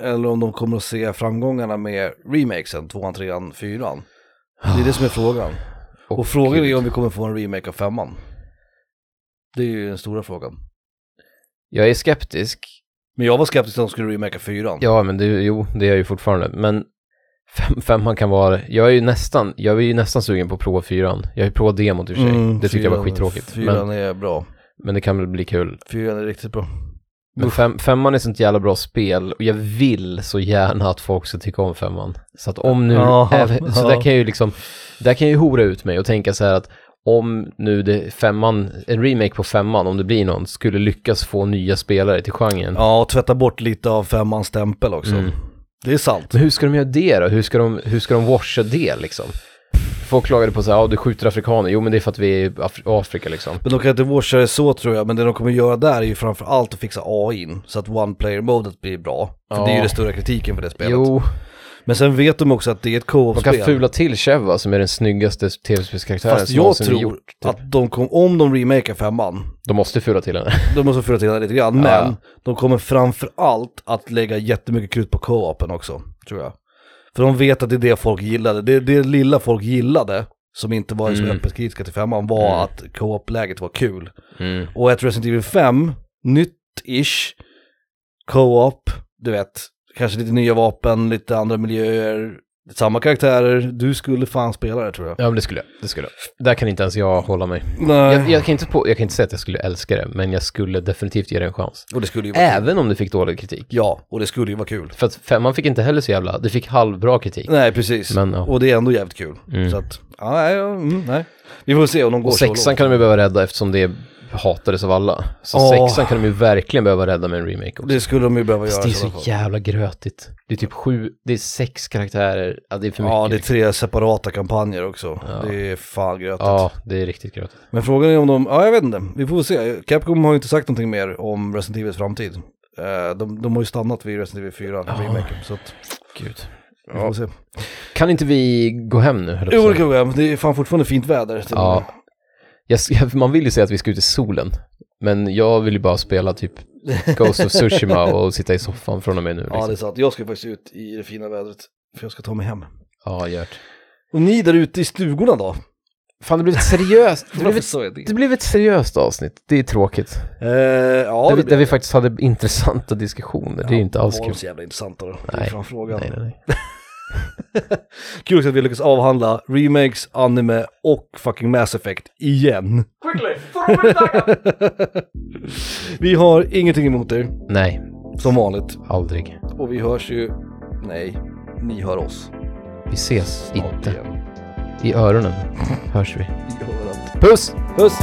eller om de kommer att se framgångarna med remakesen, 2 trean, 4 Det är det som är frågan.
Åh,
Och frågan är
Ah, gud.
om vi kommer få en remake av femman. Det är ju den stora frågan.
Jag är skeptisk,
Men jag var skeptisk till att de skulle remaka fyran.
Ja, men det, jo, det är jag ju fortfarande. Men fem, femman kan vara... Jag är ju nästan, jag är ju nästan sugen på att prova fyran. Jag har ju provat demot i och för sig. det tycker jag var
Mm, fyran-
skittråkigt.
Fyran
Men, Mm.
är bra.
men det kan väl bli kul.
Fyran är riktigt bra.
Men fem, femman är sånt jävla bra spel och jag vill så gärna att folk ska tycka om femman. Så att om nu...
Ja,
även- så
ja.
där kan jag ju liksom... Där kan jag ju hora ut mig och tänka så här att om nu det femman, en remake på femman, om det blir någon, skulle lyckas få nya spelare till genren.
Ja, och tvätta bort lite av femmans stämpel också.
Mm.
Det är sant.
Men hur ska de göra det då? Hur ska de, hur ska de washa det liksom? Folk klagade på så här, ja du skjuter afrikaner, jo men det är för att vi är i Af- Afrika liksom.
Men de kan inte washa det så tror jag, men det de kommer göra där är ju framför allt att fixa AI så att one player modet blir bra. För
Ja.
det är ju den stora kritiken för det spelet.
Jo,
Men sen vet de också att det är ett
de kan
co-op-spel.
fula till Cheva som är den snyggaste tv-spelskaraktären
Fast
som
jag
någonsin
tror
gjort. Typ.
att de kom, om de remakar femman,
De måste fula till henne.
De måste fula till det lite grann,
Ja.
men de kommer framför allt att lägga jättemycket krut på co-open också, tror jag. För de vet att det är det folk gillade, det, det lilla folk gillade, som inte var så
Mm.
öppet kritiska till femman, var
Mm.
att co-op-läget var kul.
Mm.
Och ett Resident Evil 5, nytt-ish, co-op, du vet, kanske lite nya vapen, lite andra miljöer, samma karaktärer, du skulle fan spela det tror jag.
Ja men det skulle jag, det skulle jag. Där kan inte ens jag hålla mig.
Nej.
Jag, jag, kan inte på, jag kan inte säga att jag skulle älska det, men jag skulle definitivt ge det en chans.
Och det skulle ju vara kul.
Även om det fick dålig kritik.
Ja, och det skulle ju vara kul.
För att femman fick inte heller så jävla, det fick halvbra kritik.
Nej, precis.
Men, ja.
Och det är ändå jävligt kul.
Mm.
Så att, ja, nej, ja, mm, nej. Vi får se om de går
Och
så
sexan
långt.
kan de ju behöva rädda eftersom det hatades av alla. Så
Åh.
sexan kan de ju verkligen behöva rädda med en remake också.
Det skulle de ju behöva göra.
Fast det är
i
så
alla fall.
jävla grötigt. Det är typ sju, det är sex karaktärer, ja det är för mycket.
Ja, det är
liksom.
tre separata kampanjer också.
Ja.
Det är fan grötigt.
ja, det är riktigt grötigt.
Men frågan är om de, ja jag vet inte, vi får se. Capcom har ju inte sagt någonting mer om Resident Evils framtid. Eh, De, de har ju stannat vid Resident Evil 4,
Ja.
remaken, så att
Gud.
vi får se.
Kan inte vi gå hem nu? höll jag
Jo,
på
det
att säga.
kan vi göra. Det är fan fortfarande fint väder. till och
Ja.
med.
Jag s- Man vill ju säga att vi ska ut i solen, men jag vill ju bara spela typ Ghost of Tsushima och sitta i soffan från och med nu. Liksom.
ja, det är sant. Jag ska faktiskt ut i det fina vädret, för jag ska ta mig hem.
ja Gert.
Och ni där ute i stugorna då?
Fan, det blev ett seriöst, det blev
Varför
ett,
sa jag det?
det blev ett seriöst avsnitt. Det är tråkigt.
Eh, ja,
där, vi,
det
där
blir
vi faktiskt hade intressanta diskussioner. det är ju inte alls
var
kul.
så jävla intressant då. Det är
Nej.
fan frågan.
Nej, nej, nej.
Kul också att vi lyckas avhandla remakes, anime och fucking Mass Effect igen. vi har ingenting emot er,
nej,
som vanligt.
aldrig.
Och vi hörs ju... Nej, ni hör oss.
Vi ses
Snart
inte.
igen.
I öronen hörs vi.
I örat.
Puss!
Puss!